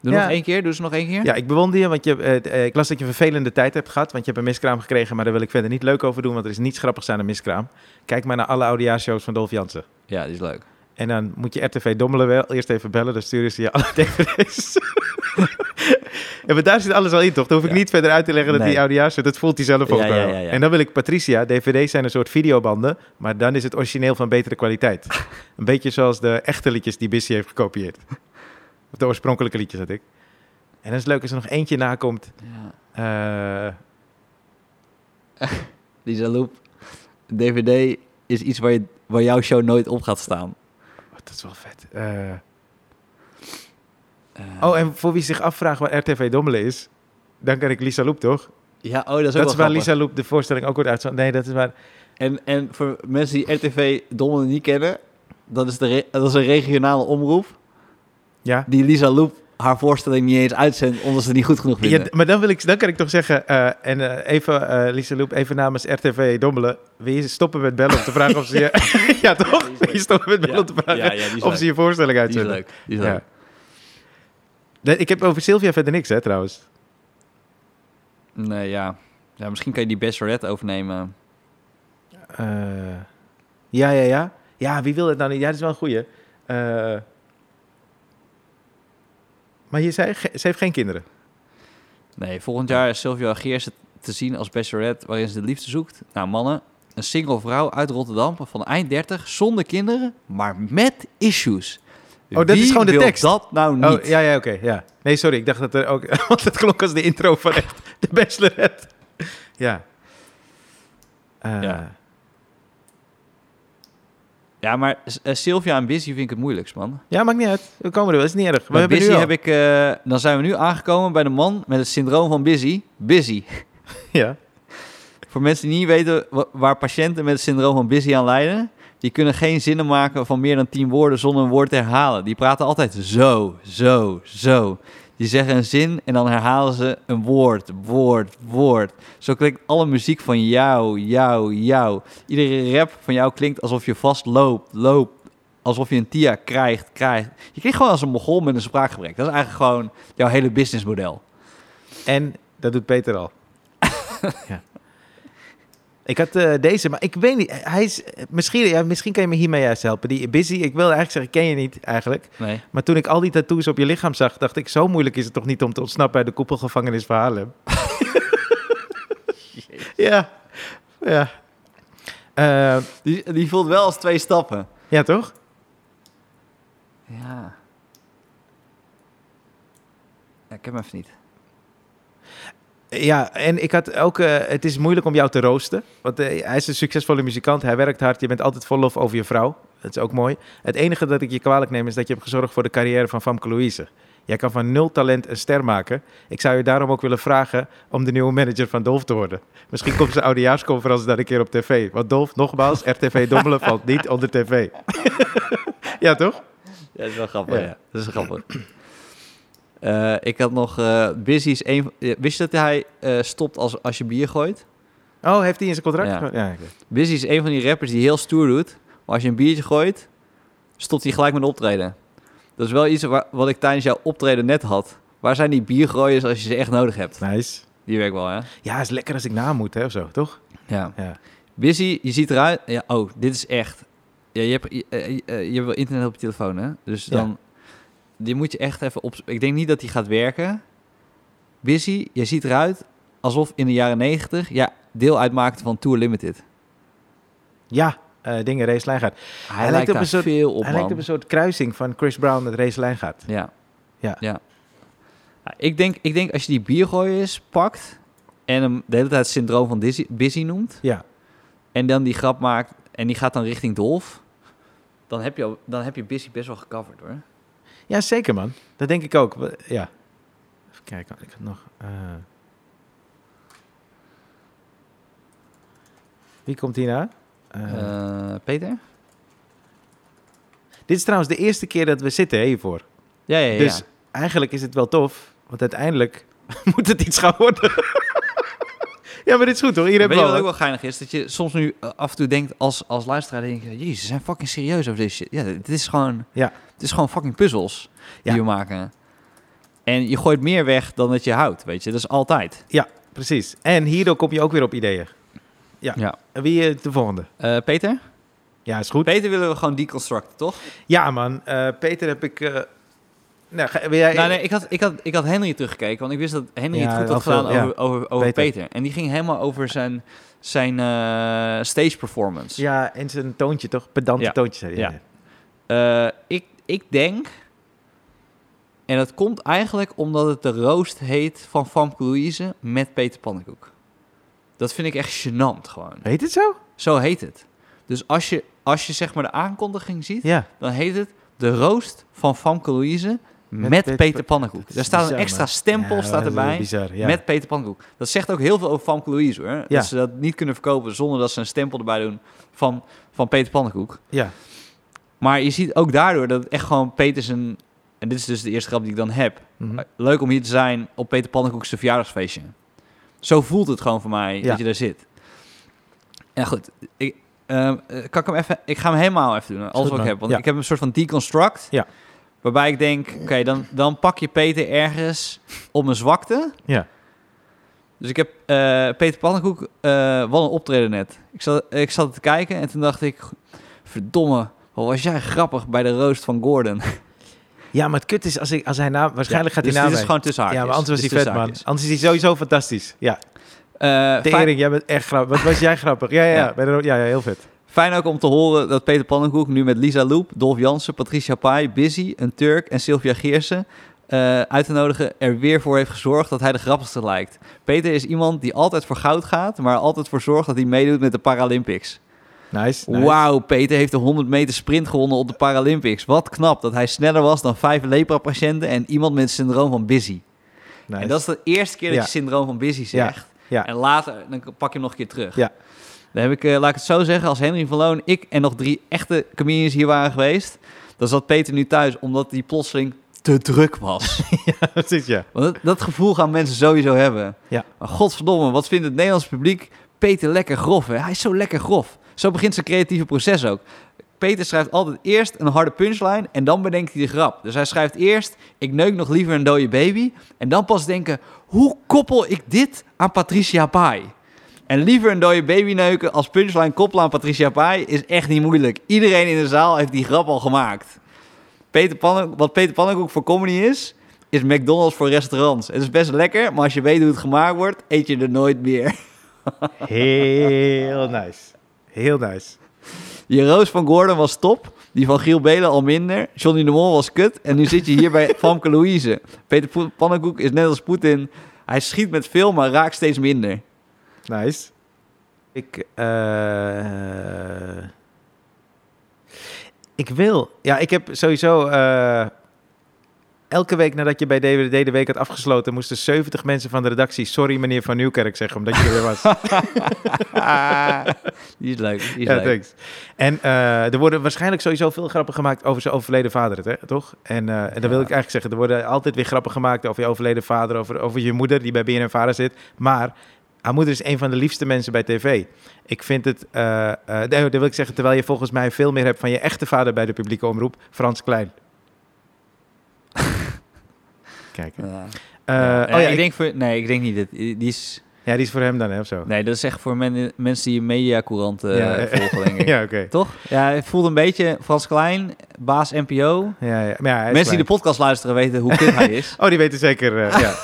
Doe Ja. nog één keer, doe ze nog één keer. Ja, ik bewonder je, want je, eh, eh, ik las dat je een vervelende tijd hebt gehad. Want je hebt een miskraam gekregen, maar daar wil ik verder niet leuk over doen. Want er is niets grappigs aan een miskraam. Kijk maar naar alle oudejaarsshows van Dolph Jansen. ja die is leuk. En dan moet je RTV Dommelen wel eerst even bellen. Dan sturen ze je alle dvd's. Ja, maar daar zit alles al in, toch? Dan hoef ik Ja. niet verder uit te leggen dat Nee. die oudejaars zit. Dat voelt hij zelf Ja, ook ja, wel. ja, ja. En dan wil ik Patricia. DVD's zijn een soort videobanden, maar dan is het origineel van betere kwaliteit. een beetje zoals de echte liedjes die Bissy heeft gekopieerd. Of de oorspronkelijke liedjes, had ik. En dat is leuk als er nog eentje nakomt. Ja. Eh, Lisa Loep, DVD is iets waar, je, waar jouw show nooit op gaat staan. oh, dat is wel vet. Eh, Eh, oh, en voor wie zich afvraagt waar RTV Dommelen is, dan kan ik Lisa Loep, toch? ja, oh, dat is ook Dat is wel waar grappig. Lisa Loep de voorstelling ook wordt uitzond. Nee, dat is waar. En, en voor mensen die RTV Dommelen niet kennen, dat is, de re- dat is een regionale omroep Ja. die Lisa Loep haar voorstelling niet eens uitzendt, omdat ze het niet goed genoeg Ja, vinden. d- maar dan, wil ik, dan kan ik toch zeggen, eh, en eh, even, eh Lisa Loep, even namens RTV Dommelen, wil je stoppen met bellen om te vragen of ze je... ja, toch? Die is Wil je stoppen met bellen Ja, om te vragen ja, ja, die is of ze je voorstelling Die is uitzenden? leuk. Die is Ja. leuk. Nee, ik heb over Sylvia verder niks, hè, trouwens. Nee, ja. ja. Misschien kan je die Bachelorette overnemen. Eh, ja, ja, ja. Ja, wie wil het nou niet? Ja, dat is wel een goeie. Eh, maar je zei, ge- ze heeft geen kinderen. Nee, volgend jaar is Sylvia Geers te zien als Bachelorette waarin ze de liefde zoekt naar mannen. Een single vrouw uit Rotterdam van eind 30, zonder kinderen, maar met issues. Oh, dat is Wie gewoon de wil tekst. dat nou niet? Oh, ja, ja, oké. ja. Nee, sorry, ik dacht dat er ook... Want het klonk als de intro van echt de Bachelorette. Ja. Eh, Ja. Ja, maar eh, Sylvia en Busy vind ik het moeilijkst, man. Ja, maakt niet uit. We komen er wel. Is niet erg. We Bij hebben Busy nu al- heb ik... eh, dan zijn we nu aangekomen bij de man met het syndroom van Busy. Busy. Ja. Voor mensen die niet weten wa- waar patiënten met het syndroom van Busy aan lijden... die kunnen geen zinnen maken van meer dan tien woorden zonder een woord te herhalen. Die praten altijd zo, zo, zo. Die zeggen een zin en dan herhalen ze een woord, woord, woord. Zo klinkt alle muziek van jou, jou, jou. Iedere rap van jou klinkt alsof je vast loopt, loopt. Alsof je een TIA krijgt, krijgt. Je klinkt gewoon als een mogol met een spraakgebrek. Dat is eigenlijk gewoon jouw hele businessmodel. En dat doet Peter al. ja. Ik had eh, deze, maar ik weet niet. Hij is, misschien, ja, misschien kan je me hiermee juist helpen. Die Busy, ik wilde eigenlijk zeggen, ken je niet eigenlijk. Nee. Maar toen ik al die tattoos op je lichaam zag, dacht ik... zo moeilijk is het toch niet om te ontsnappen uit de koepelgevangenis van Haarlem? ja, ja. Eh, Die, die voelt wel als twee stappen. ja, toch? Ja. ja ik heb hem even niet. Ja, en ik had ook... eh, het is moeilijk om jou te roosten. Want eh, hij is een succesvolle muzikant. Hij werkt hard. Je bent altijd vol lof over je vrouw. Dat is ook mooi. Het enige dat ik je kwalijk neem is dat je hebt gezorgd voor de carrière van Famke Louise. Jij kan van nul talent een ster maken. Ik zou je daarom ook willen vragen om de nieuwe manager van Dolf te worden. Misschien komt zijn oudejaarsconferentie daar een keer op tv. Want Dolf, nogmaals, RTV Dommelen valt niet onder tv. ja, toch? Ja, dat is wel grappig. Ja. Ja. Dat is grappig. Eh, ik had nog... eh Busy is een... van- eh, Wist je dat hij eh, stopt als, als je bier gooit? Oh, heeft hij in zijn contract? Ja. ja oké. Busy is een van die rappers die heel stoer doet. Maar als je een biertje gooit, stopt hij gelijk met optreden. Dat is wel iets wa- wat ik tijdens jouw optreden net had. Waar zijn die biergooiers als je ze echt nodig hebt? Nice. Die werkt wel, hè? Ja, is lekker als ik na moet, hè, of zo, toch? Ja. Ja. Busy, je ziet eruit. Ja, oh, dit is echt. Ja, je, hebt, je, eh, eh, je hebt wel internet op je telefoon, hè? Dus Ja. dan. Die moet je echt even op. Ik denk niet dat die gaat werken. Busy, je ziet eruit alsof in de jaren negentig. Ja, deel uitmaakte van Tour Limited. Ja, eh, dingen Race Lijngaard. Hij, lijkt lijkt, op daar een soort- veel op. Hij lijkt man. op een soort kruising van Chris Brown met Race Lijngaard. Ja. Ja. ja. Ja, Ik, denk, ik denk als je die biergooiers pakt. en hem de hele tijd het syndroom van Dizzy- Busy noemt. Ja, en dan die grap maakt en die gaat dan richting Dolf, dan heb je, al- dan heb je Busy best wel gecoverd hoor. ja zeker man. Dat denk ik ook. We- Ja. Even kijken, ik had nog... eh. Wie komt hierna? Eh, Eh, Peter? dit is trouwens de eerste keer dat we zitten hè, hiervoor. Ja, ja, ja. Dus eigenlijk is het wel tof, want uiteindelijk moet het iets gaan worden. ja, maar dit is goed hoor. Hier Weet je hebben we wat al ook wel geinig is? Dat je soms nu eh, af en toe denkt als, als luisteraar, denk je, jezus, ze zijn fucking serieus over deze shit. Ja, dit is gewoon, Ja. het is gewoon fucking puzzels die Ja. we maken. En je gooit meer weg dan dat je houdt, weet je. Dat is altijd. Precies. En hierdoor kom je ook weer op ideeën. Ja. Ja. En Wie eh, de volgende? Eh, Peter? Ja, is goed. Peter willen we gewoon deconstructen, toch? Ja, man. Eh, Peter heb ik eh, Nou, ga- wil jij... Nou, nee, ik had, ik, had, ik had Henry teruggekeken, want ik wist dat Henry Ja, het goed had dat wel, gedaan ja. over, over, over Peter. Peter. En die ging helemaal over zijn, zijn eh, stage performance. Ja, en zijn toontje toch? Pedante Ja. toontje. zei hij. Ja. Eh, ik, ik denk, en dat komt eigenlijk omdat het de roost heet van Famke Louise met Peter Pannenkoek. Dat vind ik echt gênant gewoon. Heet het zo? Zo heet het. Dus als je, als je zeg maar de aankondiging ziet, Ja. dan heet het de roost van Famke Louise met, Peter Peter, Pan- Dat Pannenkoek. is Daar staat bizar, een extra man. stempel Ja, staat dat is erbij. Bizar, ja. Met Peter Pannenkoek. Dat zegt ook heel veel over Famke Louise hoor. Ja. Dat ze dat niet kunnen verkopen zonder dat ze een stempel erbij doen van, van Peter Pannenkoek. ja. Maar je ziet ook daardoor dat het echt gewoon Peter zijn... En dit is dus de eerste grap die ik dan heb. Mhm. Leuk om hier te zijn op Peter Pannenkoek's verjaardagsfeestje. Zo voelt het gewoon voor mij Ja. dat je daar zit. En goed, ik, ehm, eh, kan ik, hem even, ik ga hem helemaal even doen, alles goed, wat ik man. heb. Want Ja. ik heb een soort van deconstruct. Ja. Waarbij ik denk, oké, dan, dan pak je Peter ergens op een zwakte. Ja. Dus ik heb eh, Peter Pannenkoek, eh wat een optreden net. Ik zat, ik zat te kijken en toen dacht ik, verdomme, wat was jij grappig bij de roost van Gordon. Ja, maar het kut is, als, ik, als hij na... waarschijnlijk gaat dus hij dit na is mij. gewoon tussen Ja, haakjes. maar anders was Dit hij is vet, tussen haakjes. man. Anders is hij sowieso fantastisch. Ja. Eh, fijn- Tering, jij bent echt grappig. Wat was jij grappig? Ja, ja, ja. Ja. Bij de ro- ja, ja heel vet. Fijn ook om te horen dat Peter Pannenkoek nu met Lisa Loep, Dolf Jansen, Patricia Pai, Busy, een Turk en Sylvia Geersen eh, uit te nodigen er weer voor heeft gezorgd dat hij de grappigste lijkt. Peter is iemand die altijd voor goud gaat, maar er altijd voor zorgt dat hij meedoet met de Paralympics. Nice. nice. Wauw, Peter heeft de 100 meter sprint gewonnen op de Paralympics. Wat knap dat hij sneller was dan vijf lepra-patiënten en iemand met het syndroom van Busy. Nice. En dat is de eerste keer dat Ja. je syndroom van Busy zegt. Ja. En later, dan pak je hem nog een keer terug. Ja. Dan heb ik, eh, laat ik het zo zeggen, als Henry van Loon, ik en nog drie echte comedians hier waren geweest, dan zat Peter nu thuis omdat hij plotseling te druk was. Precies, ja. Want dat, dat gevoel gaan mensen sowieso hebben. Ja. Maar godverdomme, wat vindt het Nederlands publiek Peter lekker grof, hè? Hij is zo lekker grof. Zo begint zijn creatieve proces ook. Peter schrijft altijd eerst een harde punchline en dan bedenkt hij de grap. Dus hij schrijft eerst, ik neuk nog liever een dode baby. En dan pas denken, hoe koppel ik dit aan Patricia Pai? En liever een dode baby neuken als punchline koppelen aan Patricia Pai is echt niet moeilijk. Iedereen in de zaal heeft die grap al gemaakt. Peter Pannen, wat Peter Pannenkoek voor comedy is, is McDonald's voor restaurants. Het is best lekker, maar als je weet hoe het gemaakt wordt, eet je er nooit meer. Heel nice. Heel nice. Je roos van Gordon was top, die van Giel Belen al minder, Johnny de Mol was kut en nu zit je hier bij Famke Louise. Peter Po- Pannenkoek is net als Poetin, hij schiet met veel, maar raakt steeds minder. Nice. Ik, eh, ik wil. Ja, ik heb sowieso. eh, elke week nadat je bij DWD de week had afgesloten, moesten 70 mensen van de redactie. Sorry, meneer Van Nieuwkerk, zeggen, omdat je er weer was. die is leuk, die is Ah. ja, leuk. thanks. En eh, er worden waarschijnlijk sowieso veel grappen gemaakt over zijn overleden vader, hè, toch? En, eh, en dan wil Ja. ik eigenlijk zeggen, er worden altijd weer grappen gemaakt over je overleden vader, over, over je moeder die bij BNN Vara zit. Maar haar moeder is een van de liefste mensen bij tv. Ik vind het, eh eh, nee, dat wil ik zeggen, terwijl je volgens mij veel meer hebt van je echte vader bij de publieke omroep, Frans Klein. Kijk. hè. Ja. Eh, Ja, oh ja, ik, ik- denk voor, nee, ik denk niet. Dat, die is, ja, die is voor hem dan, hè, of zo? nee, dat is echt voor men- mensen die mediacourant eh Ja, eh, volgen, denk ik. Ja, oké. Toch? Ja, het voelt een beetje Frans Klein, baas NPO. Ja, ja. Maar ja, hij Mensen is die de klein. podcast luisteren weten hoe kut hij is. Oh, die weten zeker, eh, ja.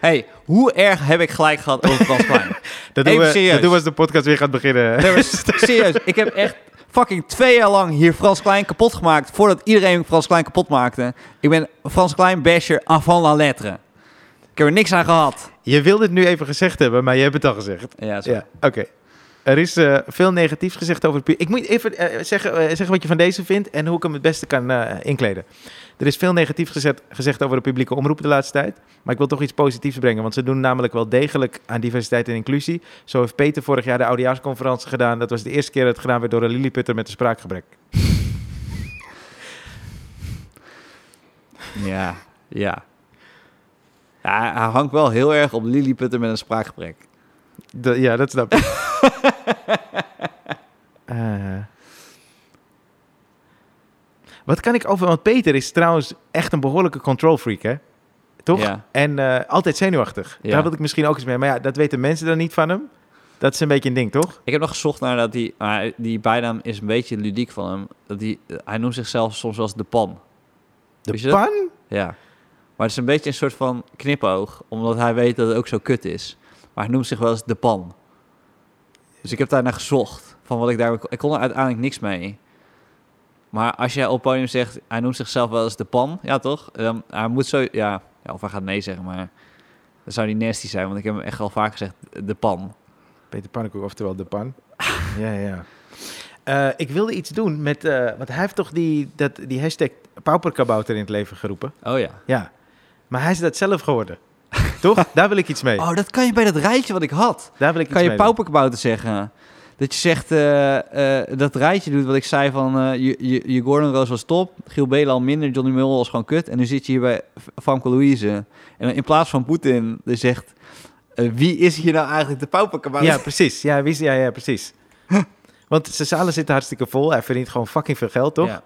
hey, hoe erg heb ik gelijk gehad over Frans Klein? Dat doen, Even we, serieus. dat doen we als de podcast weer gaat beginnen. Nee, maar s- serieus, ik heb echt fucking twee jaar lang hier Frans Klein kapot gemaakt... voordat iedereen Frans Klein kapot maakte. Ik ben Frans Klein basher avant la lettre. Ik heb er niks aan gehad. Je wilde het nu even gezegd hebben, maar je hebt het al gezegd. Ja, zo. Ja, oké. Er is eh, veel negatiefs gezegd over het publiek. Ik moet even eh, zeggen, eh, zeggen wat je van deze vindt en hoe ik hem het beste kan eh, inkleden. Er is veel negatief gezet, gezegd over de publieke omroep de laatste tijd. Maar ik wil toch iets positiefs brengen, want ze doen namelijk wel degelijk aan diversiteit en inclusie. Zo heeft Peter vorig jaar de oudejaarsconferentie gedaan. Dat was de eerste keer dat het gedaan werd door een lilliputter met een spraakgebrek. Ja, ja. Ja, hij hangt wel heel erg op Lilliputter met een spraakgebrek. Dat- ja, dat snap ik. Eh. wat kan ik over... Want Peter is trouwens echt een behoorlijke control freak, hè? Toch? Ja. En eh, altijd zenuwachtig. Ja. Daar wil ik misschien ook eens mee. Maar ja, dat weten mensen dan niet van hem. Dat is een beetje een ding, toch? Ik heb nog gezocht naar dat die, maar die bijnaam is een beetje ludiek van hem. Dat die, hij noemt zichzelf soms als de pan. Weet De je dat? pan? Ja. Maar het is een beetje een soort van knipoog, omdat hij weet dat het ook zo kut is. Maar hij noemt zich wel eens de pan. Dus ik heb daar naar gezocht, van wat ik daar... Ik kon er uiteindelijk niks mee. Maar als jij op het podium zegt, hij noemt zichzelf wel eens de pan, ja toch? Dan, hij moet zo... Ja, ja, of hij gaat nee zeggen, maar... Dan zou die nasty zijn, want ik heb hem echt al vaak gezegd, de pan. Peter Pannenkoek, oftewel de pan. ja, ja. Eh, ik wilde iets doen met... eh, want hij heeft toch die, dat, die hashtag pauperkabouter in het leven geroepen? Oh ja. Ja. Maar hij is dat zelf geworden. Toch? Daar wil ik iets mee. Oh, dat kan je bij dat rijtje wat ik had. Daar wil ik Kan iets je mee doen. pauperkabouter zeggen? Dat je zegt, eh, eh, dat rijtje doet wat ik zei van... eh, je je- je Gordon Roos was top, Giel Belen al minder, Johnny Mulder was gewoon kut. En nu zit je hier bij F- Famke Louise. En dan in plaats van Poetin, die zegt... eh, wie is hier nou eigenlijk de pauperkabouter? Ja, precies. Ja, wist, ja, ja, precies. Want zijn zalen zitten hartstikke vol. Hij verdient gewoon fucking veel geld, toch? Ja.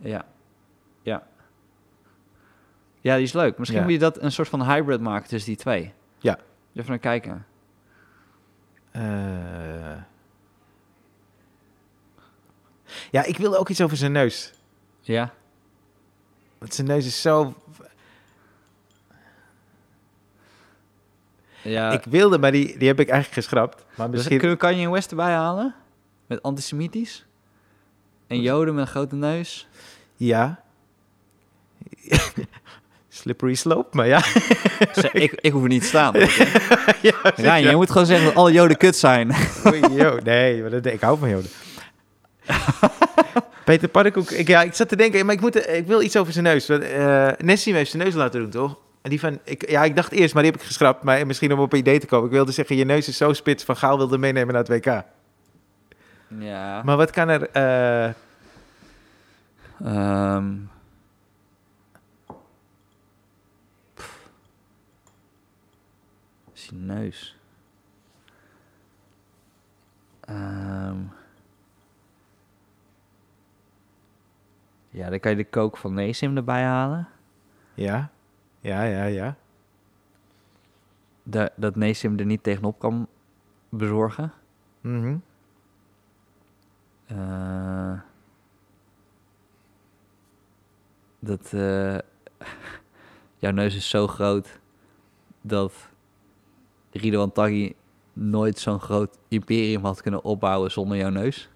ja. Ja. Ja, die is leuk. Misschien Ja. moet je dat een soort van hybrid maken tussen die twee. Ja. Even naar kijken. Eh. Ja, ik wilde ook iets over zijn neus. Ja. Want zijn neus is zo... ja. ik wilde, maar die, die heb ik eigenlijk geschrapt. Eh. Maar Dus misschien... kunnen we Kanye West erbij halen? Met antisemitisch? En Joden met een grote neus? Ja. Slippery slope, maar ja. Zeg, ik, ik hoef er niet te staan. ja Rijn, jij moet gewoon zeggen dat alle Joden kut zijn. Oei, yo, nee, maar dat, ik hou van joden. Peter Pannenkoek, ik, ja, ik zat te denken, maar ik, moet, ik wil iets over zijn neus. Want, eh, Nessim heeft zijn neus laten doen, toch? En die van, ik, ja, ik dacht eerst, maar die heb ik geschrapt. Maar misschien om op een idee te komen. Ik wilde zeggen, je neus is zo spits, Van Gaal wilde meenemen naar het WK. Ja. Maar wat kan er... eh, Ehm. Pff. Zijn neus. Ehm. Ja, dan kan je de kook van Neesim erbij halen. ja, ja, ja, ja. Da- dat Neesim er niet tegenop kan bezorgen. Mhm. Eh, dat eh, jouw neus is zo groot dat Rido Antaghi nooit zo'n groot imperium had kunnen opbouwen zonder jouw neus.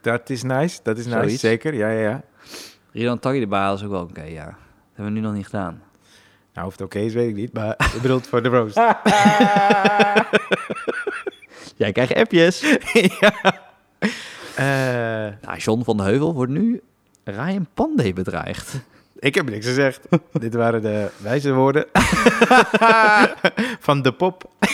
Dat is nice, dat is nice, Zoiets. zeker. Ja, ja, ja. Rido Antaghi erbij halen is ook wel oké, ja. Dat hebben we nu nog niet gedaan. Nou, of het oké is, weet ik niet. Maar ik bedoel het voor de roos. Jij krijgt appjes. Eh, nou, John van de Heuvel wordt nu Ryan Pandey bedreigd. Ik heb niks gezegd. Dit waren de wijze woorden van de pop.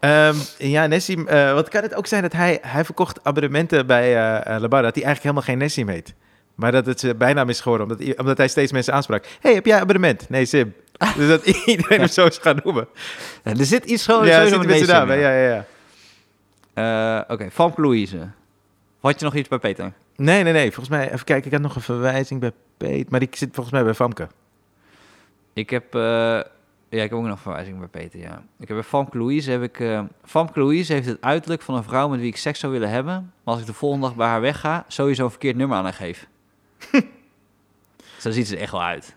Ehm, ja, Nessim. eh, wat kan het ook zijn dat hij, hij verkocht abonnementen bij eh eh, Labar, dat hij eigenlijk helemaal geen Nessim heet. Maar dat het zijn bijnaam is geworden, omdat, i- omdat hij steeds mensen aansprak. hey, heb jij abonnement? Nee, Sim. Dus dat iedereen hem zo is gaan noemen. Ja, Eh, er zit iets gewoon ja, sowieso zit een met beetje Neesim, daar. Ja, ja, ja. Eh, Oké, Famke Louise. Had je nog iets bij Peter? Nee, nee, nee. Volgens mij, even kijken, ik had nog een verwijzing bij Peet. Maar die zit volgens mij bij Famke. Ik heb, eh, ja, ik heb ook nog verwijzing bij Peter, ja. Ik heb bij Famke Louise, heb ik, eh Famke Louise heeft het uiterlijk van een vrouw met wie ik seks zou willen hebben. Maar als ik de volgende dag bij haar wegga, sowieso een verkeerd nummer aan haar geef. Zo ziet ze er echt wel uit.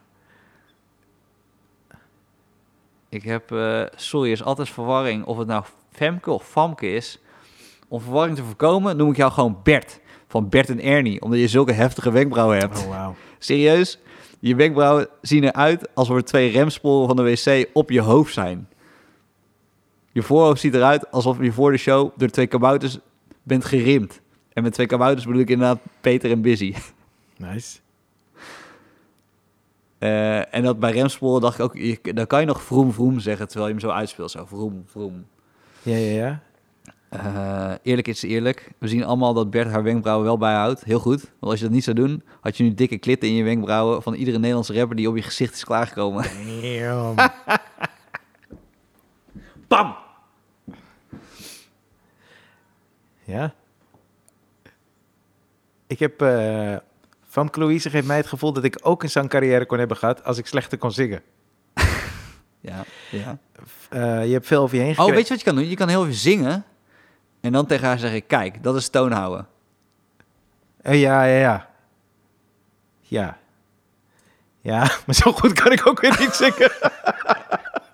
Ik heb, eh, sorry, er is altijd verwarring of het nou Femke of Famke is. Om verwarring te voorkomen noem ik jou gewoon Bert. Van Bert en Ernie, omdat je zulke heftige wenkbrauwen hebt. Oh, wauw. Serieus, je wenkbrauwen zien eruit alsof er twee remsporen van de wc op je hoofd zijn. Je voorhoofd ziet eruit alsof je voor de show door twee kabouters bent gerimd. En met twee kabouters bedoel ik inderdaad Peter en Busy. Nice. Eh, en dat bij remsporen dacht ik ook, je, dan kan je nog vroom vroom zeggen terwijl je hem zo uitspeelt. Zo vroom vroom. Ja, ja, ja. Eh, eerlijk is eerlijk. We zien allemaal dat Bert haar wenkbrauwen wel bijhoudt. Heel goed. Want als je dat niet zou doen, had je nu dikke klitten in je wenkbrauwen van iedere Nederlandse rapper die op je gezicht is klaargekomen. Bam! Ja. Ik heb... eh van Louise geeft mij het gevoel dat ik ook een zangcarrière kon hebben gehad als ik slechter kon zingen. Ja, ja. Eh, je hebt veel over je heen Oh, gekregen. weet je wat je kan doen? Je kan heel even zingen en dan tegen haar zeggen: Kijk, dat is toon houden. Eh, ja, ja, ja. Ja. Ja, maar zo goed kan ik ook weer niet zingen.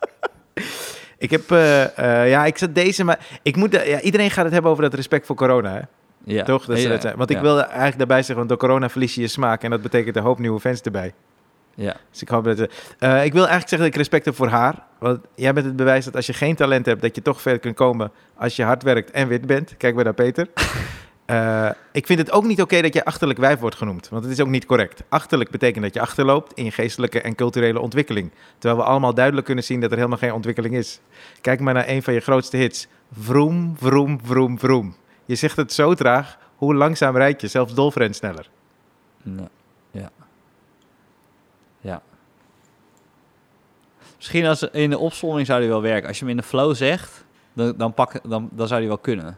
ik heb, eh, eh, ja, ik zat deze, maar ik moet, eh, ja, iedereen gaat het hebben over dat respect voor corona, hè? Ja. toch? Dat ze ja, dat zijn. Want ik ja, wilde eigenlijk daarbij zeggen, want door corona verlies je je smaak en dat betekent een hoop nieuwe fans erbij. Ja. Dus ik hoop dat ze- eh, ik wil eigenlijk zeggen dat ik respect heb voor haar, want jij bent het bewijs dat als je geen talent hebt, dat je toch ver kunt komen als je hard werkt en wit bent. Kijk maar naar Peter. Eh, ik vind het ook niet oké dat je achterlijk wijf wordt genoemd, want het is ook niet correct. Achterlijk betekent dat je achterloopt in je geestelijke en culturele ontwikkeling, terwijl we allemaal duidelijk kunnen zien dat er helemaal geen ontwikkeling is. Kijk maar naar een van je grootste hits. Vroom, vroom, vroom, vroom. Je zegt het zo traag, hoe langzaam rijd je? Zelfs Dolf rent sneller. Ja. ja. Ja. Misschien als in de opzomming zou die wel werken. Als je hem in de flow zegt, dan, dan, pak, dan, dan zou die wel kunnen.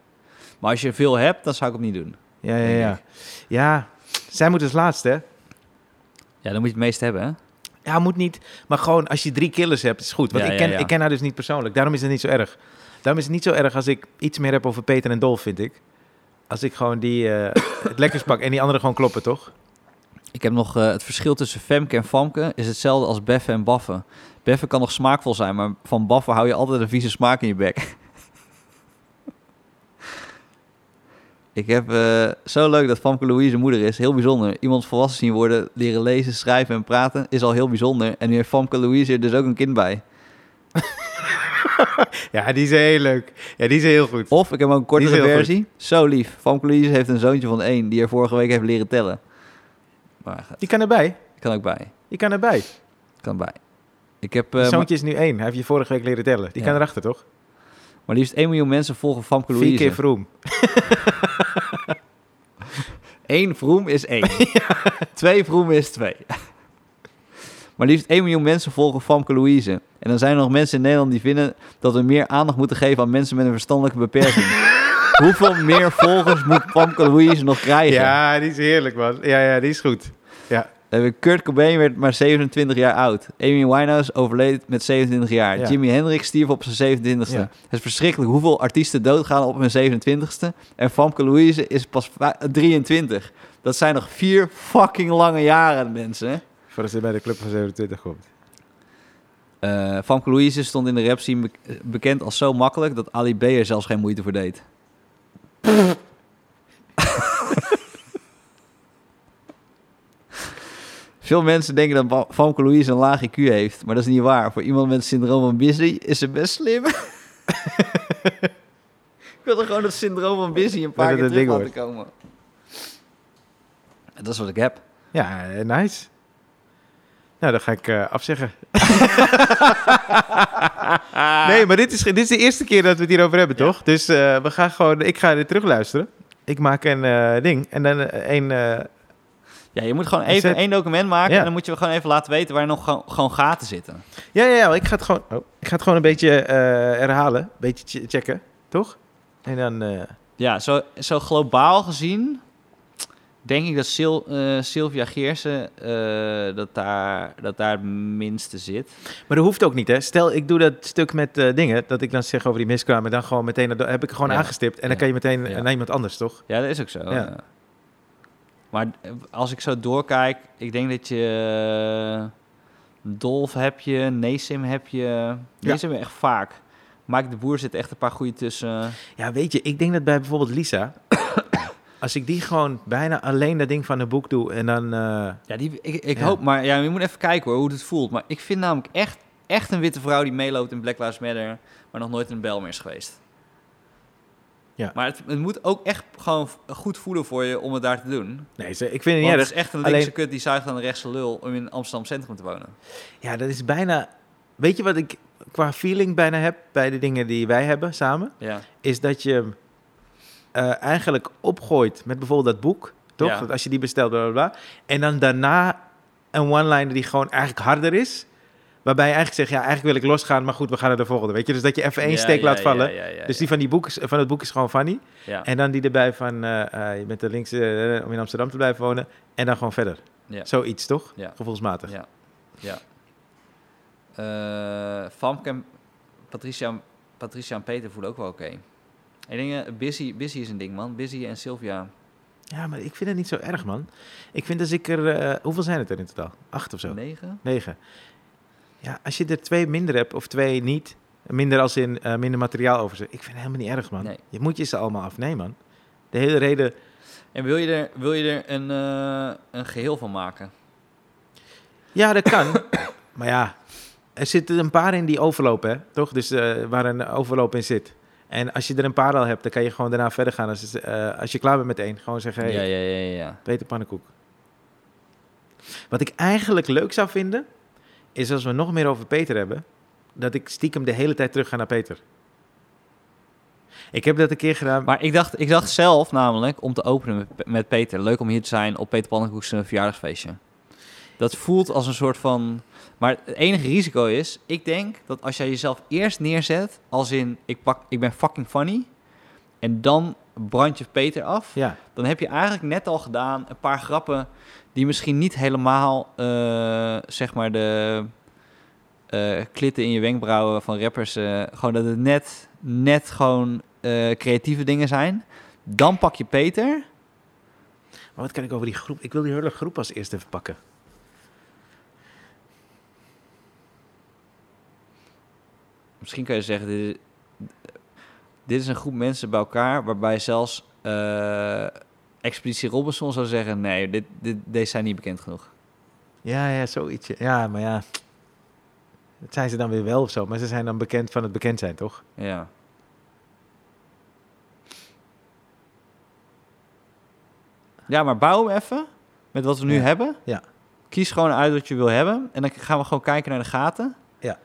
Maar als je veel hebt, dan zou ik hem niet doen. Ja, ja, Denk ja. Ja, zij moet als laatste, hè? Ja, dan moet je het meest hebben, hè? Ja, moet niet. Maar gewoon als je drie killers hebt, is goed. Want Ja, ik, ken, ja, ja. ik ken haar dus niet persoonlijk. Daarom is het niet zo erg. Daarom is het niet zo erg als ik iets meer heb over Peter en Dolf, vind ik. Als ik gewoon die eh, het lekkers pak en die anderen gewoon kloppen, toch? Ik heb nog eh, het verschil tussen Femke en Famke is hetzelfde als beffen en baffen. Beffen kan nog smaakvol zijn, maar van baffen hou je altijd een vieze smaak in je bek. Ik heb eh, zo leuk dat Famke Louise moeder is. Heel bijzonder. Iemand volwassen zien worden, leren lezen, schrijven en praten is al heel bijzonder. En nu heeft Famke Louise er dus ook een kind bij. Ja, die is heel leuk. Ja, die is heel goed. Of ik heb ook een Die kortere is heel versie. Zo lief. Famke Louise heeft een zoontje van één die er vorige week heeft leren tellen. Maar eh, Die kan erbij. kan ook bij. Die kan erbij. Kan bij. Ik heb, eh, Het maar, zoontje is nu één. Hij heeft je vorige week leren tellen. Die Ja. kan erachter, toch? maar liefst 1 miljoen mensen volgen Famke Louise. Vier keer vroom. Eén vroem is één. Twee vroemen is twee. Maar liefst 1 miljoen mensen volgen Famke Louise. En dan zijn er nog mensen in Nederland die vinden dat we meer aandacht moeten geven aan mensen met een verstandelijke beperking. Hoeveel meer volgers moet Famke Louise nog krijgen? Ja, die is heerlijk, man. Ja, ja, die is goed. Ja. Dan hebben we Kurt Cobain werd maar 27 jaar oud. Amy Winehouse overleed met 27 jaar. Ja. Jimi Hendrix stierf op zijn 27ste. Ja. Het is verschrikkelijk hoeveel artiesten doodgaan op hun 27ste. En Famke Louise is pas va- 23. Dat zijn nog vier fucking lange jaren, mensen. Voordat ze bij de club van 27 komt. Eh Famke Louise stond in de rap scene bek- bekend als zo makkelijk... dat Ali B er zelfs geen moeite voor deed. Veel mensen denken dat Ba- Famke Louise een laag IQ heeft, maar dat is niet waar. Voor iemand met het syndroom van Busy is ze best slim. Ik wilde gewoon het syndroom van Busy een paar Dat keer het terug een laten ding komen. Dat is wat ik heb. Ja, eh, nice. Nou, dan ga ik eh, afzeggen. nee, maar dit is, dit is de eerste keer dat we het hierover hebben, toch? Dus eh, we gaan gewoon, ik ga dit terugluisteren. Ik maak een eh, ding en dan eh, een... eh, Ja, je moet gewoon Is even het- één document maken Ja. en dan moet je gewoon even laten weten waar nog gewoon, gewoon gaten zitten. ja, ja, ja, ik ga het gewoon, oh, ik ga het gewoon een beetje eh, herhalen. Een beetje che- checken, toch? En dan... eh, Ja, zo, zo globaal gezien denk ik dat Sil, eh, Sylvia Geersen eh, dat, daar, dat daar het minste zit. maar dat hoeft ook niet, hè? Stel, ik doe dat stuk met eh, dingen, dat ik dan zeg over die miskramen, dan gewoon meteen, dat heb ik gewoon Ja. aangestipt. En dan Ja. kan je meteen Ja. naar iemand anders, toch? Ja, dat is ook zo. Ja. eh. Maar eh, als ik zo doorkijk, ik denk dat je eh, Dolf heb je, Neesim heb je. Neesim echt vaak. Mike de Boer zit echt een paar goede tussen. Ja, weet je, ik denk dat bij bijvoorbeeld Lisa, als ik die gewoon bijna alleen dat ding van een boek doe en dan. eh, Ja, die, ik, ik Ja. hoop, maar ja, je moet even kijken hoor, hoe het voelt. Maar ik vind namelijk echt, echt een witte vrouw die meeloopt in Black Lives Matter, maar nog nooit in de bel meer is geweest. Ja. Maar het, het moet ook echt gewoon v- goed voelen voor je om het daar te doen. nee, ze- ik vind het Want niet het erg. is echt een Alleen- linkse kut die zuigt aan de rechtse lul om in Amsterdam Centrum te wonen. Ja, dat is bijna. Weet je wat ik qua feeling bijna heb bij de dingen die wij hebben samen? Ja. Is dat je hem, eh, eigenlijk opgooit met bijvoorbeeld dat boek, toch? Ja. Dat als je die bestelt, bla bla bla. En dan daarna een one-liner die gewoon eigenlijk harder is. Waarbij je eigenlijk zegt, ja, eigenlijk wil ik losgaan, maar goed, we gaan naar de volgende. Weet je, dus dat je even één Ja, steek ja, laat ja, vallen. ja, ja, dus ja. die van, die boek is, van het boek is gewoon funny. Ja. En dan die erbij van, eh, eh, je bent de linkse eh, om in Amsterdam te blijven wonen. En dan gewoon verder. Ja. Zoiets, toch? Ja. Gevoelsmatig. Ja. ja. Eh, Famke en Patricia, en- Patricia en Peter voelen ook wel oké. Ik denk, eh, busy, busy is een ding, man. Busy en Sylvia. Ja, maar ik vind het niet zo erg, man. Ik vind als ik er... eh, hoeveel zijn het er in totaal? Acht of zo? Negen? Negen. Ja, als je er twee minder hebt of twee niet... Minder als in eh, minder materiaal over zit. Ik vind het helemaal niet erg, man. Nee. Je moet je ze allemaal afnemen, man. De hele reden... En wil je er, wil je er een, eh, een geheel van maken? Ja, dat kan. maar ja, er zitten een paar in die overlopen, hè? toch? Dus eh, waar een overloop in zit. En als je er een paar al hebt, dan kan je gewoon daarna verder gaan. Als, eh, als je klaar bent met één, gewoon zeggen... Hey, Ja, ja, ja, ja, ja. Peter Pannenkoek. Wat ik eigenlijk leuk zou vinden, is als we nog meer over Peter hebben, dat ik stiekem de hele tijd terug ga naar Peter. Ik heb dat een keer gedaan. Maar ik dacht, ik dacht zelf namelijk om te openen met, met Peter. Leuk om hier te zijn op Peter Pannenkoek's eh, verjaardagsfeestje. Dat voelt als een soort van... Maar het enige risico is, ik denk dat als jij jezelf eerst neerzet... als in, ik, pak, ik ben fucking funny... en dan brand je Peter af... Ja, dan heb je eigenlijk net al gedaan een paar grappen... die misschien niet helemaal, eh, zeg maar, de eh, klitten in je wenkbrauwen van rappers... eh, gewoon dat het net, net gewoon eh, creatieve dingen zijn. Dan pak je Peter. maar wat kan ik over die groep? Ik wil die hele groep als eerste even pakken. Misschien kan je zeggen, dit is, dit is een groep mensen bij elkaar... waarbij zelfs eh Expeditie Robinson zou zeggen... nee, dit, dit, deze zijn niet bekend genoeg. Ja, ja, zoiets. ja. Ja, maar ja. Dat zijn ze dan weer wel of zo. Maar ze zijn dan bekend van het bekend zijn, toch? Ja. Ja, maar bouw hem even met wat we nu Ja. hebben. Ja. Kies gewoon uit wat je wil hebben. En dan gaan we gewoon kijken naar de gaten. Ja.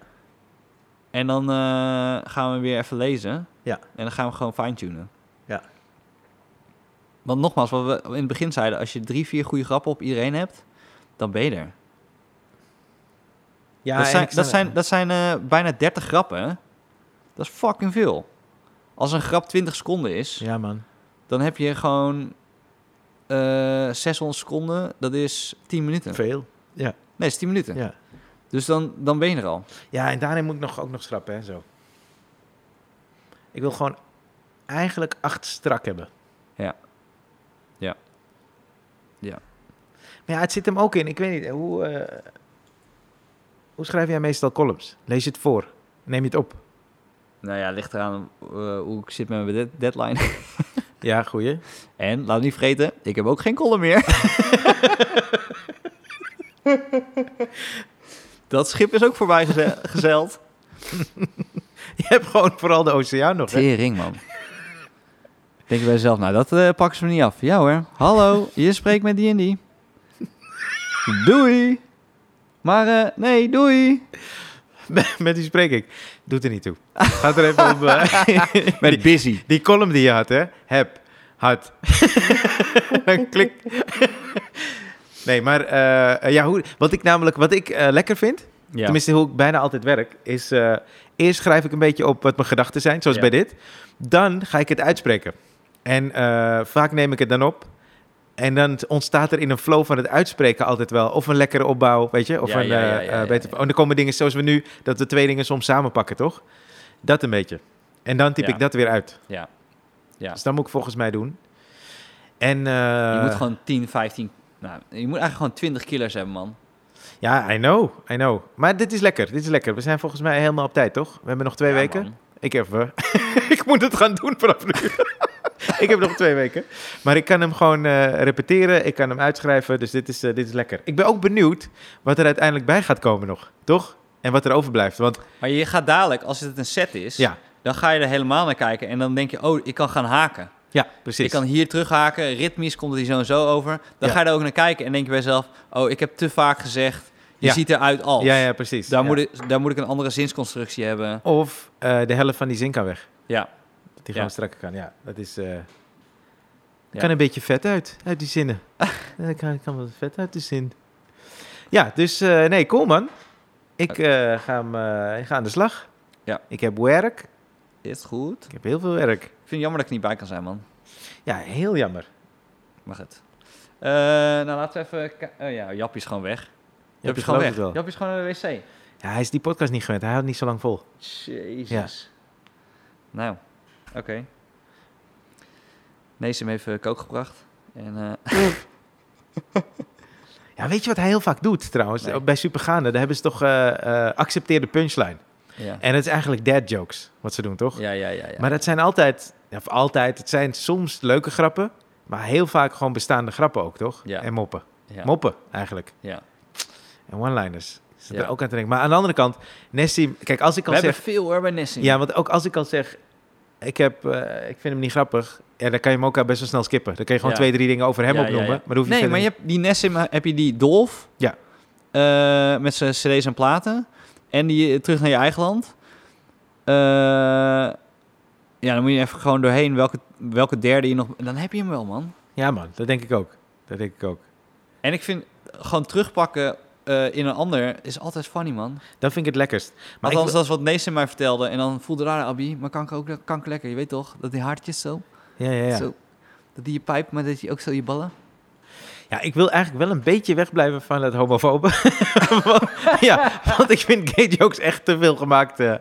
En dan eh, gaan we weer even lezen. Ja. En dan gaan we gewoon fine-tunen. Ja. Want nogmaals, wat we in het begin zeiden... als je drie, vier goede grappen op iedereen hebt... dan ben je er. Ja, dat, en zijn, ik sta- dat zijn, dat zijn eh, bijna 30 grappen. hè? Dat is fucking veel. Als een grap 20 seconden is, Ja, man. dan heb je gewoon eh 600 seconden. Dat is 10 minuten. Nee, Veel. dat is 10 minuten. Ja. Dus dan, dan ben je er al. Ja, en daarin moet ik nog, ook nog schrappen, hè, zo. Ik wil gewoon eigenlijk acht strak hebben. Ja. Ja. Ja. Maar ja, het zit hem ook in. Ik weet niet, hoe, eh, hoe schrijf jij meestal columns? Lees je het voor? Neem je het op? Nou ja, ligt eraan eh, hoe ik zit met mijn dead- deadline. Ja, goeie. En laat niet vergeten, ik heb ook geen column meer. dat schip is ook voorbij geze- gezeild. Je hebt gewoon vooral de oceaan nog, hè? Tering, man. Denk je bij jezelf, nou dat eh, pakken ze me niet af. Ja hoor, hallo, je spreekt met die en die. Doei. Maar eh, nee, doei. Met, met die spreek ik. Doet er niet toe. Gaat er even om... eh, Met busy. Die column die je had, hè? Heb, had. Dan klik. nee, maar eh, ja, hoe, wat ik namelijk wat ik eh, lekker vind, Ja. tenminste hoe ik bijna altijd werk, is eh, eerst schrijf ik een beetje op wat mijn gedachten zijn, zoals Ja. bij dit. Dan ga ik het uitspreken. En eh, vaak neem ik het dan op. En dan ontstaat er in een flow van het uitspreken altijd wel. Of een lekkere opbouw, weet je. Of Ja, een ja, ja, eh, ja, eh, ja, beter. ja. Oh, dan komen dingen zoals we nu, dat we twee dingen soms samenpakken, toch? Dat een beetje. En dan typ Ja. ik dat weer uit. ja. Ja. Dus dat moet ik volgens mij doen. En eh, Je moet gewoon 10, 15... Nou, je moet eigenlijk gewoon 20 killers hebben, man. ja, I know, I know. Maar dit is lekker, dit is lekker. We zijn volgens mij helemaal op tijd, toch? We hebben nog twee Ja, weken. man. Ik even. ik moet het gaan doen vanaf nu. ik heb nog twee weken. Maar ik kan hem gewoon eh, repeteren, ik kan hem uitschrijven. Dus dit is, eh, dit is lekker. Ik ben ook benieuwd wat er uiteindelijk bij gaat komen nog, toch? En wat er overblijft. Want Maar je gaat dadelijk, als het een set is, ja, dan ga je er helemaal naar kijken. En dan denk je, oh, ik kan gaan haken. ja precies. Ik kan hier terughaken, ritmisch komt het hier zo en zo over. Dan Ja. ga je er ook naar kijken en denk je bij jezelf... oh, ik heb te vaak gezegd, je Ja. ziet eruit als. ja, ja, precies. Daar, Ja. moet ik, daar moet ik een andere zinsconstructie hebben. Of eh, de helft van die zin kan weg. Ja, Dat die Ja. gewoon strakker kan, ja. Dat is... eh, er Ja. kan een beetje vet uit, uit die zinnen. Er kan, kan wat vet uit de zin. Ja, dus eh, nee, cool man. Ik, eh, ga hem, eh, ik ga aan de slag. Ja. Ik heb werk. is goed. Ik heb heel veel werk. Ik vind het jammer dat ik er niet bij kan zijn, man. Ja, heel jammer. Maar goed. Eh, nou, laten we even... ki- Oh ja, Jappie is gewoon weg. Jappie is gewoon gelooft weg. het wel. Jappie is gewoon naar de wc. Ja, hij is die podcast niet gewend. Hij houdt niet zo lang vol. Jezus. Nou, oké. Nees hem even kook gebracht. En, eh, Ja, weet je wat hij heel vaak doet trouwens? Nee. Bij Supergaande, daar hebben ze toch eh, eh, accepteer de punchline. ja. En het is eigenlijk dad jokes, wat ze doen, toch? ja, ja, ja, ja. Maar dat zijn altijd, of altijd, het zijn soms leuke grappen, maar heel vaak gewoon bestaande grappen ook, toch? Ja. En moppen. ja. Moppen, eigenlijk. ja. En one-liners. Ik Zit Ja. er ook aan te denken. Maar aan de andere kant, Nessim, kijk, als ik We al hebben zeg... veel hoor bij Nessie. Ja, want ook als ik al zeg, ik, heb, eh, ik vind hem niet grappig, ja, dan kan je hem ook al best wel snel skippen. Dan kun je gewoon Ja. twee, drie dingen over hem Ja, ja, opnoemen. ja. Maar dan hoef je nee, verder maar je niet- hebt die Nessim, eh, heb je die Dolf. Ja. Eh, met zijn cd's en platen. En die eh, terug naar je eigen land. Eh, ja, dan moet je even gewoon doorheen welke, welke derde je nog... Dan heb je hem wel, man. Ja man, dat denk ik ook. Dat denk ik ook. En ik vind gewoon terugpakken eh, in een ander is altijd funny, man. Dat vind ik het lekkerst. Maar Maar ik, Althans, dat is wat Nessim mij vertelde. En dan voelde daar Abby, maar kanker ook kanker lekker. Je weet toch, dat die haartjes zo, ja, ja, ja. zo. Dat die je pijp, maar dat je ook zo je ballen. ja, ik wil eigenlijk wel een beetje wegblijven van het homofobe. want, ja, want ik vind gay jokes echt te veel gemaakt eh,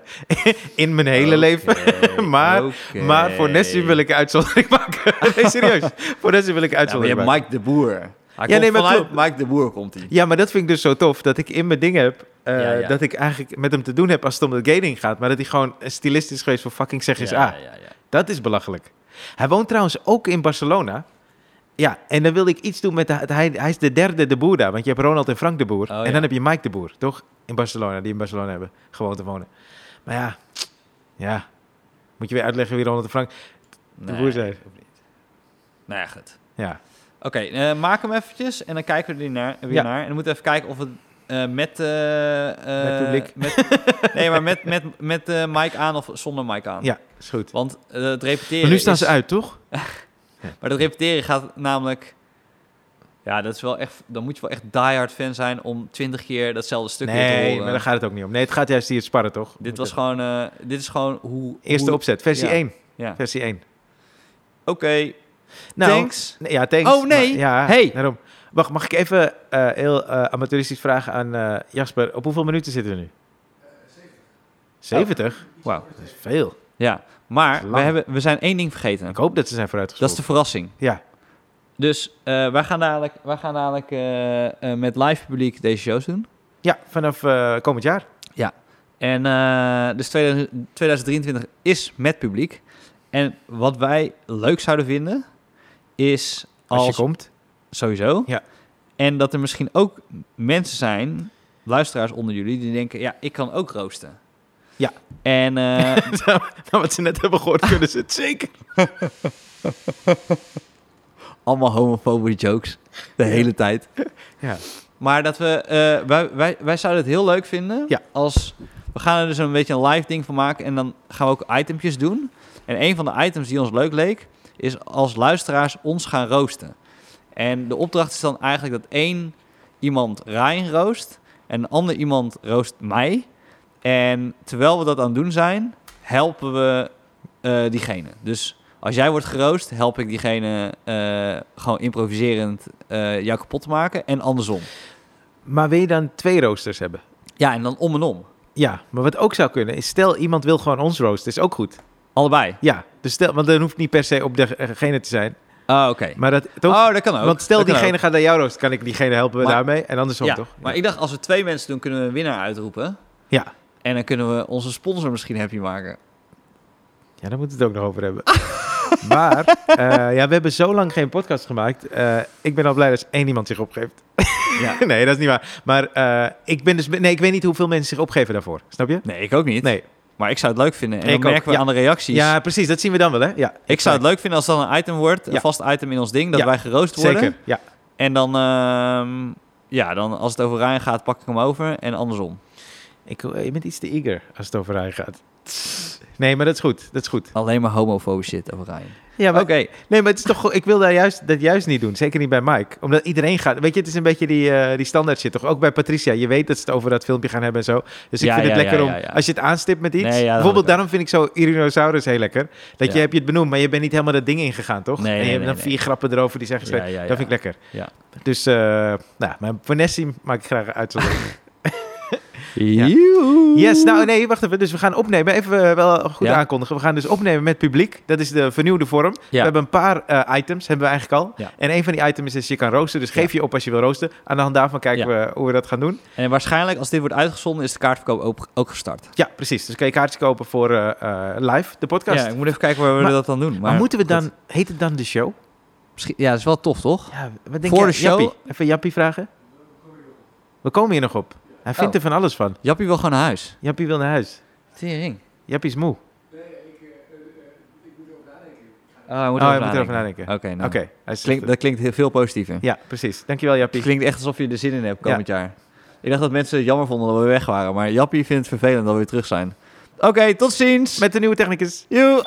in mijn hele leven. Maar- Maar voor Nessie wil ik een uitzondering maken. nee, serieus. Voor Nessie wil ik een Ja, maar je uitzondering hebt maken. Mike de Boer. Hij nee, komt maar vanuit klopt. Mike de Boer komt hij. Ja, maar dat vind ik dus zo tof. Dat ik in mijn ding heb. eh, Ja, ja. Dat ik eigenlijk met hem te doen heb als het om het gayding gaat. Maar dat hij gewoon een stylist is geweest voor fucking zeg eens A. ja, ja, ja. Dat is belachelijk. Hij woont trouwens ook in Barcelona. Ja, en dan wilde ik iets doen met... De, het- hij, hij is de derde de boer daar. Want je hebt Ronald en Frank de boer. Oh, en ja. dan heb je Mike de boer, toch? In Barcelona, die in Barcelona hebben gewoond te wonen. Maar ja, ja. Moet je weer uitleggen wie Ronald en Frank... Nee, boer zei- hoeft niet. Nou ja, goed. Ja, Oké, eh, maak hem eventjes en dan kijken we er naar, weer Ja. naar. En dan moeten we even kijken of het eh, met... eh, eh, Met publiek. met- nee, maar met, met, met eh, Mike aan of zonder Mike aan. ja is goed. Want eh, het repeteren Maar nu staan is- ze uit, toch? Maar dat repeteren gaat namelijk... Ja, dat is wel echt... Dan moet je wel echt diehard fan zijn om twintig keer datzelfde stuk weer te Nee, horen. maar daar gaat het ook niet om. Nee, het gaat juist hier het sparren, toch? Dit was gewoon... eh, dit is gewoon hoe... Eerste hoe- opzet, versie Ja. 1. Ja. Versie 1. Oké, Nou, thanks. Nee, Ja, thanks. Oh, nee. Maar- ja, Hey. daarom. Wacht, mag ik even eh, heel eh, amateuristisch vragen aan eh, Jasper. Op hoeveel minuten zitten we nu? Eh, 70. 70? Wauw. Dat is veel. Ja, Dat maar is we, lang. hebben, we zijn één ding vergeten. Ik hoop dat ze zijn Dat is vooruitgeschoven. de verrassing. Ja. Dus eh, wij gaan dadelijk, wij gaan dadelijk eh, eh, met live publiek deze shows doen. Ja, vanaf eh, komend jaar. En eh, dus 2000 2023 is met publiek. En wat wij leuk zouden vinden is Als, als, je komt. sowieso. Ja. En dat er misschien ook mensen zijn, luisteraars onder jullie, die denken: ja, ik kan ook roosten. Ja. En eh, nou, wat ze net hebben gehoord, kunnen ze het zeker. allemaal homofobe jokes de hele tijd. Ja. Maar dat we, eh, wij, wij, wij zouden het heel leuk vinden Ja. als we gaan er dus een beetje een live ding van maken en dan gaan we ook itempjes doen. En een van de items die ons leuk leek is als luisteraars ons gaan roosten. En de opdracht is dan eigenlijk dat één iemand Ryan roost en een ander iemand roost mij. En terwijl we dat aan het doen zijn, helpen we eh, diegene. Dus als jij wordt geroost, help ik diegene eh, gewoon improviserend eh, jou kapot te maken en andersom. Maar wil je dan twee roosters hebben? Ja, en dan om en om. Ja, maar wat ook zou kunnen is, stel iemand wil gewoon ons roosten, is ook goed. Allebei. Ja, dus stel, want dan hoeft het niet per se op degene te zijn. Ah, oké. Maar dat, toch? Oh, dat kan ook. Want stel Dat kan diegene ook. gaat naar jou roosten, kan ik diegene helpen Maar- daarmee en andersom Ja, toch? maar ik dacht, als we twee mensen doen, kunnen we een winnaar uitroepen. Ja. En dan kunnen we onze sponsor misschien happy maken. Ja, daar moeten we het ook nog over hebben. maar eh, ja, we hebben zo lang geen podcast gemaakt. Eh, ik ben al blij dat één iemand zich opgeeft. Ja. nee, dat is niet waar. Maar eh, ik ben dus. Nee, ik weet niet hoeveel mensen zich opgeven daarvoor. Snap je? Nee, ik ook niet. Nee. Maar ik zou het leuk vinden. En Ik dan ook, merken we ja. aan de reacties. Ja, precies. Dat zien we dan wel, hè? Ja. ik zou het leuk vinden als dat een item wordt, Ja. een vast item in ons ding, dat Ja, wij geroost worden. Zeker. Ja. En dan, ehm, ja, dan als het over Ryan gaat, pak ik hem over en andersom. Ik, eh, je bent iets te eager als het over Rijn gaat. Nee, maar dat is goed. Dat is goed. Alleen maar homofobische shit over Ryan. Ja, Oké, maar, Nee, maar het is toch. go- Ik wil daar juist, dat juist niet doen. Zeker niet bij Mike. Omdat iedereen gaat. Weet je, het is een beetje die, eh, die standaard shit toch? Ook bij Patricia. Je weet dat ze het over dat filmpje gaan hebben en zo. Dus ik Ja, vind het ja, lekker ja, om. ja, ja. Als je het aanstipt met iets. Nee, ja, dat had ik ook. bijvoorbeeld, daarom vind ik zo Irinosaurus heel lekker. Dat Ja. je heb je het benoemd, maar je bent niet helemaal dat ding ingegaan, toch? Nee, en je nee, hebt nee, dan nee. vier grappen erover die zeggen. Ja, geschreven. ja, ja. Dat vind ik lekker. Ja. Dus, eh nou, maar voor Nessie maak ik graag uit. Ja. Joehoe. Yes, nou nee, wacht even. Dus we gaan opnemen. Even eh, wel goed Ja. aankondigen. We gaan dus opnemen met publiek. Dat is de vernieuwde vorm. We hebben een paar eh, items, hebben we eigenlijk al. Ja. En een van die items is je kan roosten. Dus geef je op als je wil roosten. Aan de hand daarvan kijken we hoe we dat gaan doen. En waarschijnlijk, als dit wordt uitgezonden, is de kaartverkoop ook, ook gestart. Ja, precies. Dus kan je kaartjes kopen voor eh, eh, live, de podcast. Ja, ik moet even kijken waar we Maar- dat dan doen. Maar, maar, moeten goed. we dan, heet het dan de show? Misschien, ja, dat is wel tof, toch? Ja, wat denk Voor jij, de show? Jappie? Even Jappie vragen. We komen hier nog op. Hij vindt Oh. er van alles van. Jappie wil gewoon naar huis. Jappie wil naar huis. Tering. Jappie is moe. Oh, hij moet oh, erover je moet erover nadenken. nadenken. Oké, nou. Oké, hij is Klinkt, dat klinkt heel veel positiever. Ja, precies. Dankjewel, Jappie. Het klinkt echt alsof je er zin in hebt komend jaar. Ik dacht dat mensen het jammer vonden dat we weg waren. Maar Jappie vindt het vervelend dat we weer terug zijn. Oké, tot ziens. Met de nieuwe technicus. Joe.